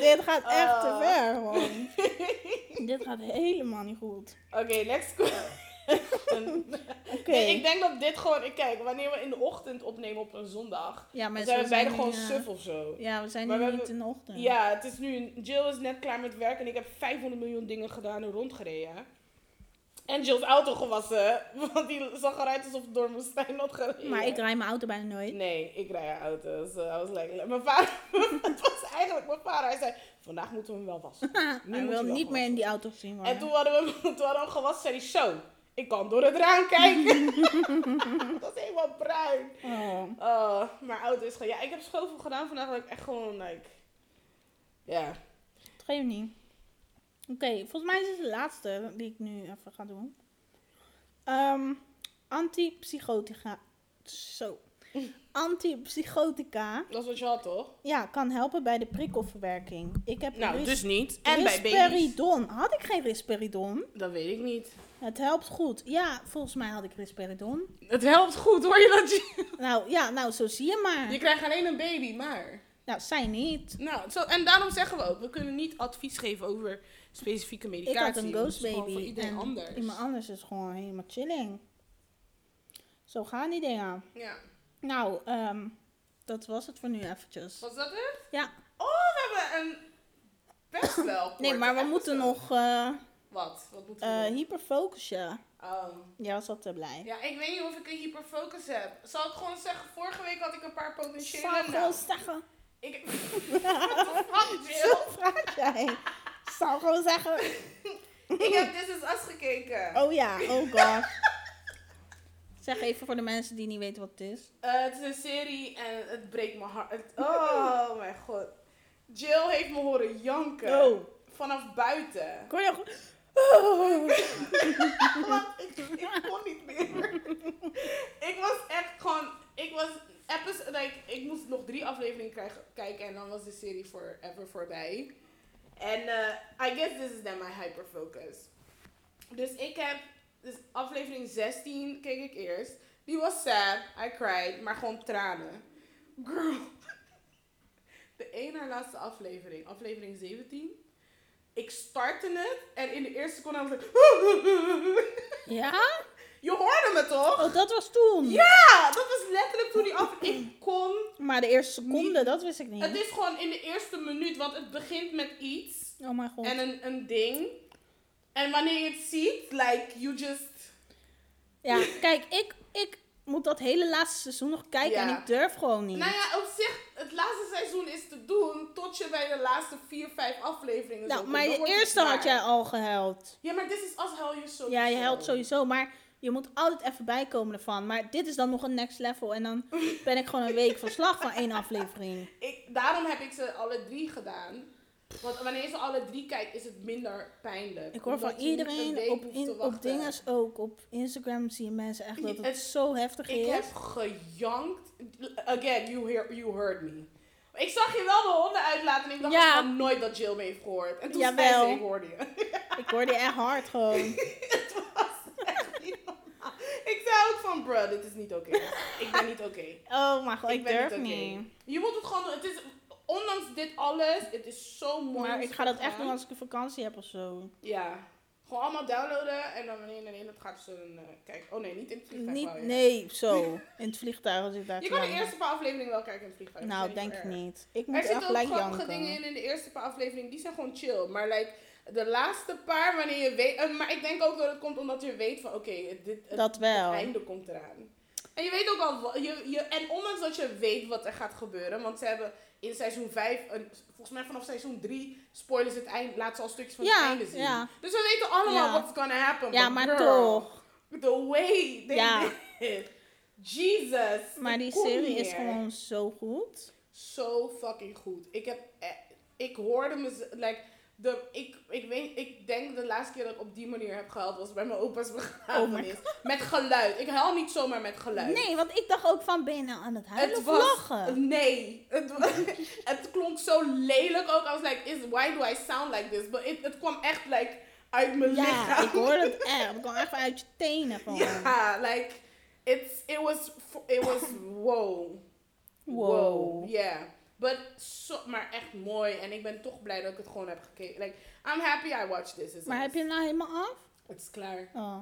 S2: dit gaat echt te
S1: Oh.
S2: ver gewoon. dit gaat helemaal niet goed.
S1: Oké, next question.
S2: Oké.
S1: Nee, ik denk dat dit gewoon... ik Kijk, wanneer we in de ochtend opnemen op een zondag...
S2: ja,
S1: Dan
S2: maar
S1: zijn
S2: zo
S1: we beide
S2: nu,
S1: gewoon
S2: eh,
S1: suf of zo.
S2: Ja, we zijn
S1: Maar
S2: nu
S1: we
S2: niet
S1: hebben-
S2: in de ochtend.
S1: Ja, het is nu... Jill is net klaar met werk en ik heb 500 miljoen dingen gedaan en rondgereden. En Jill's auto gewassen, want die zag eruit alsof het door een woestijn had gereden.
S2: Maar ik rij mijn auto bijna nooit.
S1: Nee, ik rij haar auto. So I was like... Mijn vader... het was eigenlijk mijn vader. Hij zei, vandaag moeten we hem wel wassen. Nu
S2: Hij
S1: moet
S2: wil
S1: je wel
S2: niet meer
S1: gewassen.
S2: in die auto gezien worden.
S1: En toen hadden we, hem- toen hadden we hem gewassen, zei hij zo. Ik kan door het raam kijken. dat is helemaal bruin.
S2: Oh.
S1: Oh, maar auto is gewoon... Ja, ik heb zoveel gedaan vandaag dat ik echt gewoon, like... Ja.
S2: Dat geeft niet. Oké, volgens mij is dit de laatste die ik nu even ga doen. Ehm antipsychotica. Zo. Antipsychotica
S1: Dat is wat je had, toch?
S2: ja, kan helpen bij de prikkelverwerking. Ik heb
S1: Nou,
S2: ris-
S1: dus niet. En bij baby's.
S2: risperidon. Had ik geen risperidon?
S1: Dat weet ik niet.
S2: Het helpt goed. Ja, volgens mij had ik risperidon.
S1: Het helpt goed, hoor je dat? Je,
S2: nou ja, nou zo zie je maar.
S1: je krijgt alleen een baby, maar...
S2: Nou, zij niet.
S1: Nou, zo, en daarom zeggen we ook, we kunnen niet advies geven over specifieke
S2: Ik
S1: medicatie.
S2: had
S1: want
S2: een
S1: het
S2: ghost
S1: is gewoon
S2: baby.
S1: voor iedereen
S2: en
S1: anders.
S2: Iemand anders is gewoon helemaal chilling. Zo gaan die dingen.
S1: Ja.
S2: Nou, ehm, dat was het voor nu eventjes.
S1: Was dat het?
S2: Ja,
S1: Oh, we hebben een best wel.
S2: nee, maar we
S1: korte
S2: moeten
S1: episode.
S2: nog eh
S1: Wat? Wat moeten
S2: eh,
S1: we nog?
S2: hyperfocussen.
S1: Oh.
S2: Jij was al te blij.
S1: Ja, ik weet niet of ik een hyperfocus heb. Zal ik gewoon zeggen, vorige week had ik een paar potentiële.
S2: Zou ik gewoon
S1: nou,
S2: zeggen.
S1: ik. What the fuck,
S2: Zo
S1: Jill?
S2: vraag jij. Zou gewoon zeggen.
S1: ik heb This Is Us gekeken.
S2: Oh ja, oh god. zeg even voor de mensen die niet weten wat het is.
S1: Eh, het is een serie en het breekt mijn hart. Het- oh mijn god. Jill heeft me horen janken.
S2: Oh.
S1: Vanaf buiten.
S2: Kon je goed?
S1: Want ik, ik kon niet meer. aflevering krijg, kijken en dan was de serie forever voorbij. En eh, I guess this is then my hyperfocus. Dus ik heb, dus aflevering 16 keek ik eerst. Die was sad, I cried, maar gewoon tranen. Girl. De één na laatste aflevering, aflevering 17. Ik startte het en in de eerste seconde was ik...
S2: Ja?
S1: Je hoorde me toch?
S2: Oh, dat was toen.
S1: Ja, dat was letterlijk toen die af... Ik kon...
S2: Maar de eerste seconde, dat wist ik
S1: Het
S2: niet.
S1: is gewoon in de eerste minuut, want het begint met iets.
S2: Oh mijn god.
S1: En een, een ding. En wanneer je het ziet, like, you just...
S2: Ja, kijk, ik, ik moet dat hele laatste seizoen nog kijken
S1: Ja.
S2: en ik durf gewoon niet.
S1: Nou ja, op zich, het laatste seizoen is te doen tot je bij de laatste vier, vijf afleveringen zo
S2: nou,
S1: komt.
S2: maar
S1: Dan
S2: de
S1: wordt het
S2: eerste had
S1: zwaar.
S2: jij al gehuild.
S1: Ja, maar dit is als hel je zo.
S2: Ja, je huilt sowieso, maar je moet altijd even bijkomen ervan. Maar dit is dan nog een next level en dan ben ik gewoon een week van slag van één aflevering.
S1: Ik, daarom heb ik ze alle drie gedaan. Want wanneer je ze alle drie kijkt, is het minder pijnlijk.
S2: Ik hoor
S1: Omdat
S2: van
S1: je niet een
S2: iedereen
S1: week
S2: op,
S1: hoeft
S2: in-
S1: te
S2: op
S1: wachten.
S2: dinges ook. Op Instagram zie je mensen echt dat
S1: Ja,
S2: het,
S1: het-
S2: zo heftig
S1: Ik
S2: is.
S1: heb gejankt. Again, you, hear, you heard me. Ik zag je wel de honden uitlaten en ik dacht
S2: Ja.
S1: ik had nooit dat Jill me heeft gehoord. En toen zei
S2: Jawel.
S1: ze, ik hoorde je.
S2: Ik hoorde echt hard gewoon.
S1: Het was echt niet normaal. Ik zei ook van, bruh, dit is niet oké. Ik ben niet oké.
S2: Oh mijn god, ik,
S1: ben
S2: durf
S1: oké.
S2: niet.
S1: Je moet het gewoon doen. Het is, ondanks dit alles, het is zo mooi.
S2: Maar
S1: om
S2: ik
S1: te
S2: ga dat
S1: gaan.
S2: echt doen als ik een vakantie heb of zo.
S1: Ja. Gewoon allemaal downloaden en dan wanneer je in het gaat, ze een eh, kijken. Oh nee, niet in het vliegtuig.
S2: Niet,
S1: wou je.
S2: nee, zo. In het vliegtuig als ik daar
S1: Je
S2: te
S1: kan de
S2: lang-
S1: eerste paar afleveringen wel kijken in het vliegtuig.
S2: Nou,
S1: Dat is
S2: denk
S1: niet
S2: ik
S1: erg.
S2: niet. Ik moet
S1: Er
S2: echt
S1: zitten ook
S2: gelijk
S1: grappige
S2: janken.
S1: dingen in in de eerste paar afleveringen. Die zijn gewoon chill. Maar like, de laatste paar, wanneer je weet... eh, maar ik denk ook dat het komt omdat je weet van... Oké, dit het,
S2: Dat wel.
S1: het einde komt eraan. En je weet ook al... wa- Je, je, en ondanks dat je weet wat er gaat gebeuren... Want ze hebben in seizoen 5... Een, volgens mij vanaf seizoen 3... Spoilers het eind, laat ze al stukjes van het
S2: Ja,
S1: einde zien.
S2: ja.
S1: Dus we weten allemaal
S2: Ja.
S1: what's gonna happen.
S2: Ja, maar
S1: girl,
S2: toch.
S1: The way they
S2: Ja.
S1: did it. Jesus.
S2: Maar
S1: ik
S2: die
S1: kon
S2: serie
S1: niet
S2: is
S1: meer
S2: gewoon zo goed.
S1: zo fucking goed. Ik heb, eh, ik hoorde me, z- like, de, ik, ik weet, ik denk de laatste keer dat ik op die manier heb gehuild was bij mijn opa's begrafenis. met geluid. Ik huil niet zomaar met geluid.
S2: Oh Nee, want ik dacht ook van, ben je nou aan het huilen of lachen?
S1: Nee. Het, wa- het klonk zo lelijk ook. I was like, is, why do I sound like this? But it, het kwam echt, like, uit mijn
S2: Ja,
S1: lichaam.
S2: ik hoorde het echt. Het kwam echt uit je tenen gewoon.
S1: Ja, like, it's, it was, f- it was, wow. Wow.
S2: Wow.
S1: Yeah. But so, maar echt mooi. En ik ben toch blij dat ik het gewoon heb gekeken. Like, I'm happy I watched this. Is
S2: Maar
S1: alles.
S2: heb je het nou helemaal af?
S1: Het is klaar.
S2: Oh.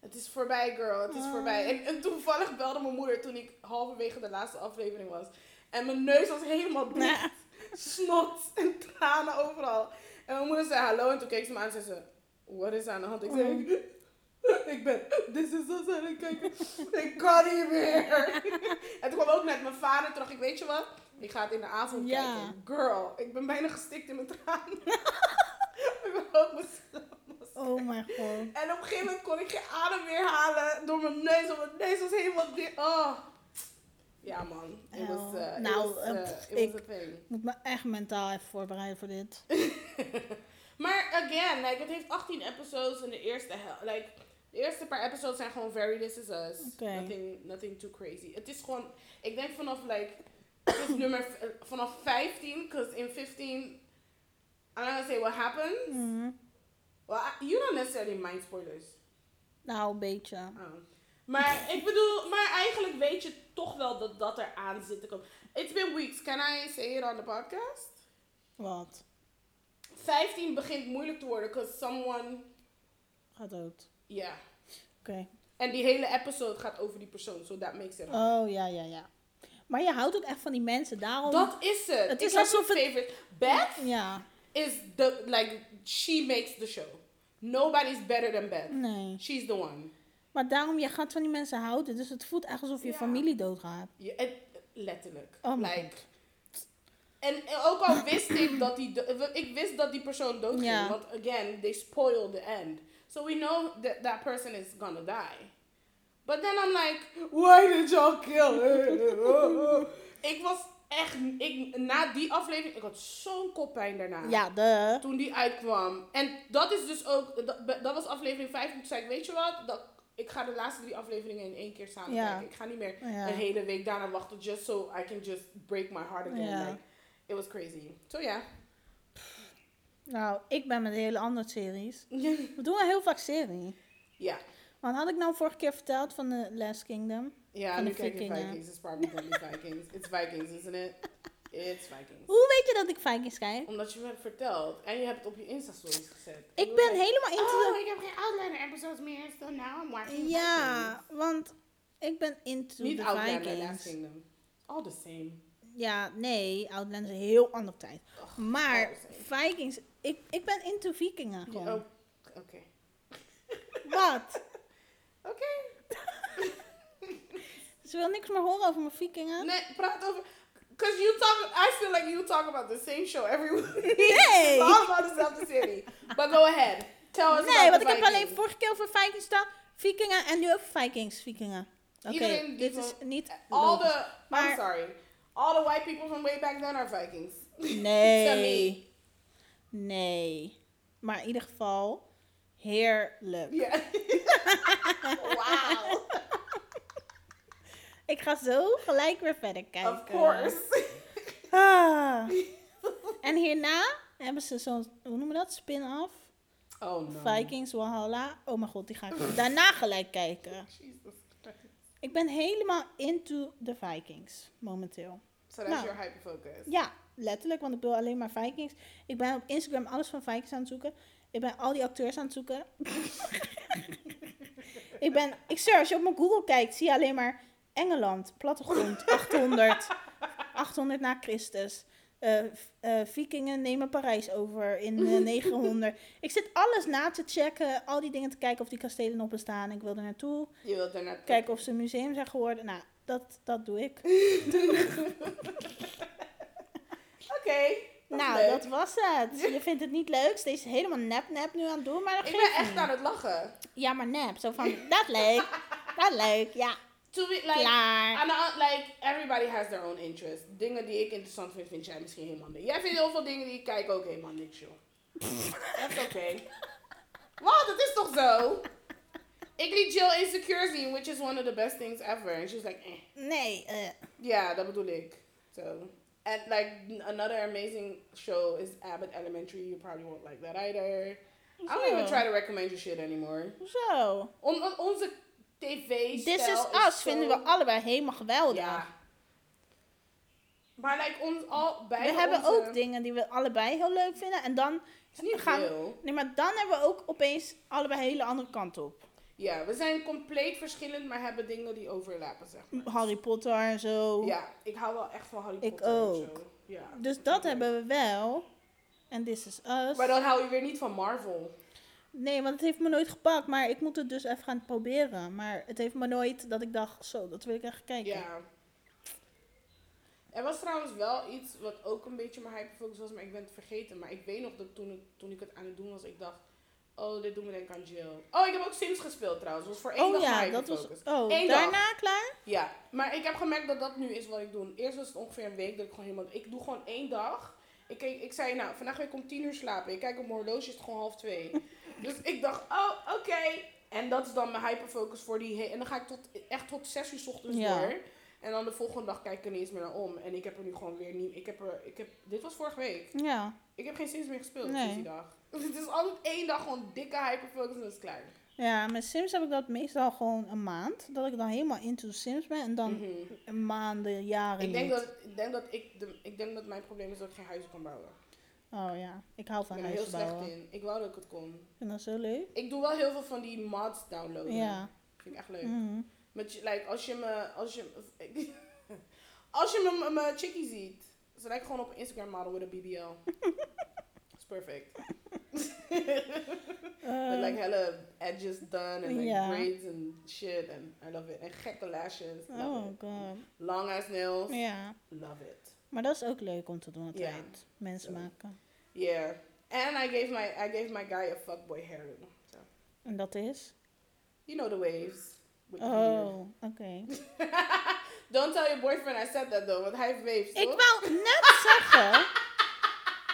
S1: Het is voorbij, girl. Het is
S2: Ah.
S1: voorbij. En, en toevallig belde mijn moeder toen ik halverwege de laatste aflevering was. En mijn neus was helemaal dicht.
S2: Ja.
S1: Snot en tranen overal. En mijn moeder zei hallo. En toen keek ze me aan en zei ze... Wat is aan de hand? Ik zei...
S2: Mm.
S1: Ik ben... Dit is zo aan het kijken. Ik kan niet meer. en toen kwam ook met mijn vader terug. Ik weet je wat? Ik ga het in de avond
S2: Ja.
S1: kijken. Girl, ik ben bijna gestikt in mijn tranen. ik ben ook mijn
S2: Oh mijn god.
S1: en op een gegeven moment kon ik geen adem meer halen door mijn neus. Want mijn neus was helemaal dicht. Oh. Ja, man. It was, eh, it
S2: Nou,
S1: was, eh,
S2: eh,
S1: it
S2: ik-
S1: was a thing.
S2: Ik moet me echt mentaal even voorbereiden voor dit.
S1: Maar again, like, het heeft 18 episodes en de eerste hel- like, de eerste paar episodes zijn gewoon very this is us.
S2: Oké.
S1: Nothing, nothing too crazy. Het is gewoon, ik denk vanaf like, het is nummer, v- eh, vanaf 15, because in 15, I'm not gonna say what happened.
S2: Mhm.
S1: Well, I- you don't necessarily mind spoilers.
S2: Nou, een beetje.
S1: Oh. Maar ik bedoel, maar eigenlijk weet je toch wel dat dat er aan zit te komen. It's been weeks. Can I say it on the podcast?
S2: Wat?
S1: 15 begint moeilijk te worden, because someone,
S2: Gaat dood.
S1: yeah.
S2: Oké.
S1: En die hele episode gaat over die persoon, so that makes it hard.
S2: Oh, ja, ja, ja. Maar je houdt ook echt van die mensen. Daarom...
S1: Dat is het.
S2: Het
S1: ik
S2: is
S1: heb
S2: alsof
S1: een
S2: het-
S1: favorite. Beth
S2: Ja.
S1: is the, like, she makes the show. Nobody's better than Beth.
S2: Nee.
S1: She's the one.
S2: Maar daarom, je gaat van die mensen houden. Dus het voelt echt alsof je
S1: Ja.
S2: familie doodgaat.
S1: Je- het- letterlijk.
S2: Oh my
S1: like, en, en ook al wist ik dat die, do- ik wist dat die persoon dood ging,
S2: Ja.
S1: want again, they spoil the end. So we know that that person is gonna die. But then I'm like, why did y'all kill her? ik was echt, ik, na die aflevering, ik had zo'n koppijn daarna.
S2: Ja, de.
S1: Toen die uitkwam. En dat is dus ook, dat, dat was aflevering 5, toen zei ik, weet je wat, dat, ik ga de laatste drie afleveringen in één keer samen
S2: Ja. Oh,
S1: kijken. Ik ga niet meer
S2: Ja.
S1: een hele week daarna wachten, just so I can just break my heart again.
S2: Ja.
S1: Like, it was crazy. So ja.
S2: Nou, ik ben met een hele andere series.
S1: Yeah.
S2: We doen wel heel vaak serie.
S1: ja.
S2: Want had ik nou vorige keer verteld van The Last Kingdom?
S1: Ja,
S2: Van de
S1: nu kijk je
S2: Vikingen.
S1: Vikings. It's probably gonna be Vikings. It's Vikings, isn't it? It's Vikings.
S2: Hoe weet je dat ik Vikings kijk?
S1: Omdat je me hebt verteld en je hebt het op je Insta-stories gezet.
S2: Ik ben helemaal into
S1: Oh, ik heb geen Outlander episodes meer, so now I'm
S2: the...
S1: watching
S2: Ja, want ik ben into
S1: Niet
S2: the
S1: Outlander, Last
S2: Vikings.
S1: Kingdom. All the same.
S2: Ja, nee, Outland is een heel andere tijd.
S1: Ugh,
S2: Maar
S1: all the same.
S2: Vikings, ik, ik ben into vikingen
S1: Ja,
S2: gewoon.
S1: oh, oké.
S2: Wat?
S1: Oké.
S2: Ze wil niks meer horen over mijn vikingen.
S1: Nee, praat over... Because you talk... I feel like you talk about the same show every week.
S2: Nee.
S1: It's all about dezelfde serie. But go ahead. Tell us
S2: Nee,
S1: about
S2: want
S1: the
S2: ik heb
S1: Vikings.
S2: alleen vorige keer over Vikings staan. Vikingen en nu over Vikings, vikingen. Oké,
S1: Iedereen die Eh,
S2: dit is
S1: van-
S2: niet...
S1: Uh, All
S2: logisch.
S1: the...
S2: Maar-
S1: I'm sorry. All the white people from way back then are Vikings.
S2: Nee. Nee. Maar in ieder geval, heerlijk.
S1: Yeah. wow.
S2: Ik ga zo gelijk weer verder kijken.
S1: Of course.
S2: Ah. en hierna hebben ze zo'n, hoe noemen we dat? Spin-off.
S1: Oh no.
S2: Vikings, Walhalla. Oh mijn god, die ga ik daarna gelijk kijken.
S1: Jesus Christ.
S2: Ik ben helemaal into de Vikings momenteel.
S1: So that's
S2: Nou.
S1: your hyper focus.
S2: Ja, letterlijk, want ik wil alleen maar Vikings. Ik ben op Instagram alles van Vikings aan het zoeken. Ik ben al die acteurs aan het zoeken. ik ben, ik zweer, als je op mijn Google kijkt, zie je alleen maar Engeland, plattegrond, 800, 800 na Christus. Eh, v- eh, Vikingen nemen Parijs over in eh, 900. Ik zit alles na te checken, al die dingen te kijken of die kastelen nog bestaan. Ik wil er naartoe,
S1: Je wilt daarna
S2: kijken of ze een museum zijn geworden. Nou, dat, dat doe ik.
S1: Oké.
S2: Nou,
S1: leuk.
S2: dat was het. Je vindt het niet leuk. Ze is helemaal nep-nep nu aan het doen, maar dat
S1: Ik
S2: geeft
S1: ben echt
S2: niet.
S1: aan het lachen.
S2: Ja, maar nep. Zo van, dat leuk. Dat leuk, ja.
S1: To be like,
S2: Klaar.
S1: aan de hand- like, everybody has their own interest. Dingen die ik interessant vind, vind jij misschien helemaal niks. Jij vindt heel veel dingen die ik kijk ook helemaal niks, joh. That's oké. Wat? Dat is toch zo? Ik liet Jill Insecure zien, which is one of the best things ever. And she was like, eh.
S2: Nee, eh,
S1: Ja, dat bedoel ik. So. And like n- another amazing show is Abbott Elementary. You probably won't like that either. I don't even
S2: Hoezo?
S1: try to recommend your shit anymore.
S2: hoezo?
S1: Omdat onze tv
S2: This is Us vinden we allebei helemaal geweldig.
S1: Ja. Maar like ons al
S2: we
S1: bij
S2: hebben
S1: onze,
S2: ook dingen die we allebei heel leuk vinden. En dan
S1: Het is niet
S2: gaan
S1: veel.
S2: Nee, maar dan hebben we ook opeens allebei hele andere kant op.
S1: Ja, we zijn compleet verschillend, maar hebben dingen die overlappen, zeg maar.
S2: Harry Potter en zo.
S1: Ja, ik hou wel echt van Harry
S2: Ik
S1: Potter. en
S2: ook.
S1: zo. Ja.
S2: Dus dat hebben we wel. En This is Us.
S1: Maar dan hou je weer niet van Marvel.
S2: Nee, want het heeft me nooit gepakt. Maar ik moet het dus even gaan proberen. Maar het heeft me nooit dat ik dacht, zo, dat wil ik echt kijken.
S1: Ja. Er was trouwens wel iets wat ook een beetje mijn hyperfocus was, maar ik ben het vergeten. Maar ik weet nog dat toen ik, toen ik het aan het doen was, ik dacht, oh, dit doet me denken aan Jill. Oh, ik heb ook Sims gespeeld trouwens. was voor één
S2: oh
S1: dag
S2: ja,
S1: mijn
S2: dat was...
S1: hyperfocus.
S2: Oh,
S1: Eén dag.
S2: daarna klaar?
S1: Ja, maar ik heb gemerkt dat dat nu is wat ik doe. Eerst was het ongeveer een week dat ik gewoon helemaal... Ik doe gewoon één dag. Ik, keek- ik zei, nou, vandaag ga ik om tien uur slapen. Ik kijk op mijn horloge, is het gewoon half twee. dus ik dacht, oh, oké. En dat is dan mijn hyperfocus voor die... he- En dan ga ik tot, echt tot zes uur 's ochtends
S2: Ja.
S1: door. En dan de volgende dag kijk ik er niet eens meer naar om. En ik heb er nu gewoon weer niet... Ik heb er... Ik heb, dit was vorige week.
S2: Ja.
S1: Ik heb geen Sims meer gespeeld
S2: Nee.
S1: sinds die dag. het is altijd één dag gewoon dikke hyperfocus en dat is klaar.
S2: Ja, met Sims heb ik dat meestal gewoon een maand. Dat ik dan helemaal into Sims ben. En dan
S1: Mhm.
S2: een maanden, jaren
S1: Ik denk
S2: niet.
S1: dat, ik denk dat ik, de, ik denk dat mijn probleem is dat ik geen huizen kan bouwen.
S2: Oh ja, ik hou
S1: Ik
S2: van
S1: ben er heel
S2: huizen
S1: slecht
S2: bouwen.
S1: in. Ik wou dat ik het kon.
S2: Ik vind dat zo leuk.
S1: Ik doe wel heel veel van die mods downloaden.
S2: Ja.
S1: Vind ik echt leuk.
S2: Mhm.
S1: Met, je- like, als je me, als je, als je me, me chickie ziet, ze lijkt gewoon op een Instagram model met een BBL. It's perfect. Met
S2: Eh,
S1: like helle edges done and like
S2: Ja.
S1: braids and shit and I love it. En gekke lashes. Love
S2: oh
S1: it.
S2: god.
S1: Long ass nails.
S2: Ja.
S1: Love it.
S2: Maar dat is ook leuk om te doen
S1: Ja.
S2: altijd. Mensen
S1: Zo.
S2: maken.
S1: Yeah. And I gave my I gave my guy a fuckboy hairdo. So
S2: En dat is?
S1: you know the waves. with the beard.
S2: Oh, oké.
S1: Don't tell your boyfriend I said that though, want hij heeft waves.
S2: Ik
S1: toch?
S2: wou net zeggen.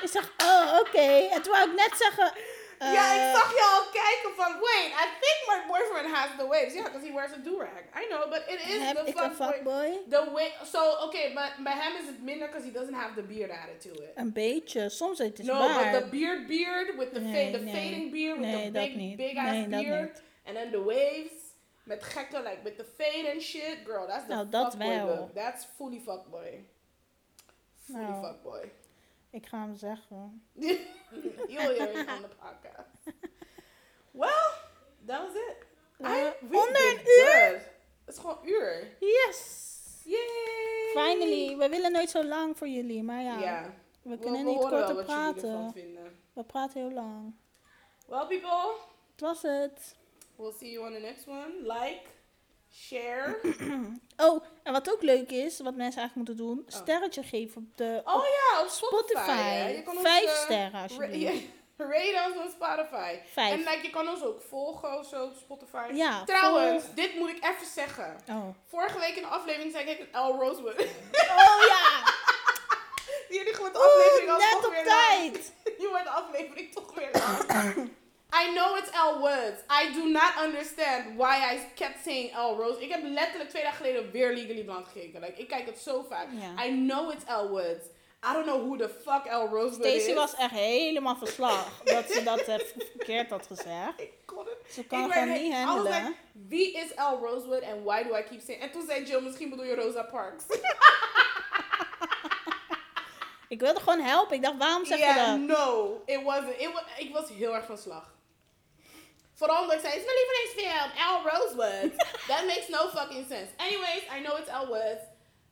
S2: Ik zeg, oh, oké. En toen wou ik net zeggen,
S1: ja,
S2: Eh,
S1: ik zag je al kijken van, wait, I think my boyfriend has the waves. Yeah, because he wears a do-rag. I know, but it is
S2: Heb
S1: the
S2: ik een
S1: fuckboy.
S2: fuckboy?
S1: The way, so okay, but by him is it minder because he doesn't have the beard added to it.
S2: Een beetje. Soms Oh, het is
S1: no,
S2: waar.
S1: but the beard, beard with the
S2: Nee,
S1: fade, the
S2: nee.
S1: fading beard with
S2: nee,
S1: the
S2: dat
S1: big,
S2: niet.
S1: big ass
S2: nee, dat
S1: beard,
S2: niet.
S1: and then the waves met gekke like with the fade and shit, girl. That's the
S2: Nou, dat
S1: fuckboy
S2: wel.
S1: look. That's fully fuckboy. Fully
S2: Nou.
S1: fuckboy.
S2: Ik ga hem zeggen.
S1: You'll hear it on the podcast. Well, that was it.
S2: Eh,
S1: I, we
S2: onder
S1: did
S2: een uur?
S1: good. Het is gewoon uur.
S2: Yes!
S1: Yay!
S2: Finally. We willen nooit zo lang voor jullie, maar ja.
S1: Ja.
S2: We
S1: We-
S2: kunnen
S1: we
S2: niet
S1: horen wel
S2: korter
S1: wat jullie ervan
S2: praten.
S1: vinden.
S2: We praten heel lang.
S1: Well, people,
S2: Het was het.
S1: we'll see you on the next one. Like, share.
S2: Oh, en wat ook leuk is, wat mensen eigenlijk moeten doen, sterretje geven op de
S1: Oh
S2: op
S1: ja, op Spotify. hè.
S2: Spotify.
S1: Je kan ons,
S2: Vijf
S1: eh,
S2: sterren
S1: ra-
S2: alsjeblieft.
S1: ja, Rate ons op Spotify.
S2: Vijf.
S1: En like, je kan ons ook volgen of zo op Spotify.
S2: ja,
S1: Trouwens,
S2: volg-
S1: dit moet ik even zeggen.
S2: Oh.
S1: Vorige week in de aflevering zei ik L. Rosewood.
S2: oh ja!
S1: Jullie gewoon de
S2: Oeh,
S1: aflevering al
S2: net
S1: toch
S2: op
S1: weer
S2: tijd!
S1: lang. Je wordt de aflevering toch weer lang. I know it's L. Woods. I do not understand why I kept saying L. Rose. Ik heb letterlijk twee dagen geleden weer Legally Blonde gekeken. Like, ik kijk het zo vaak.
S2: Ja.
S1: I know it's L. Woods. I don't know who the fuck L. Rosewood
S2: Stacey
S1: is.
S2: was echt helemaal verslag dat ze dat eh, verkeerd had gezegd.
S1: Ik kon het
S2: Ze kan
S1: ik
S2: gewoon
S1: werd-
S2: niet
S1: I was
S2: handelen.
S1: like, wie is L. Rosewood en why do I keep saying... En toen zei Jill, misschien bedoel je Rosa Parks.
S2: Ik wilde gewoon helpen. Ik dacht, waarom zeg
S1: Ja,
S2: je dat?
S1: no, it wasn't. It was, ik was heel erg van slag. Vooral omdat ik zei, it's really nice film, Al Rosewood. That makes no fucking sense. Anyways, I know it's Al Woods.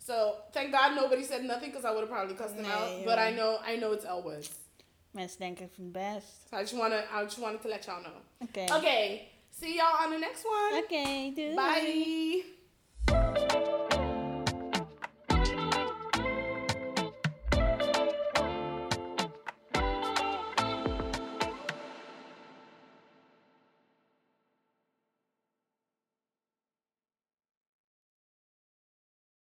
S1: So, thank God nobody said nothing, because I would have probably cussed them
S2: Nee,
S1: out.
S2: joh.
S1: But I know, I know it's Al Woods.
S2: Mensen denken, ik vind het best.
S1: So I just, wanna, I just wanted to let y'all know.
S2: Oké.
S1: Okay, see y'all on the next one.
S2: Oké, doei.
S1: Bye.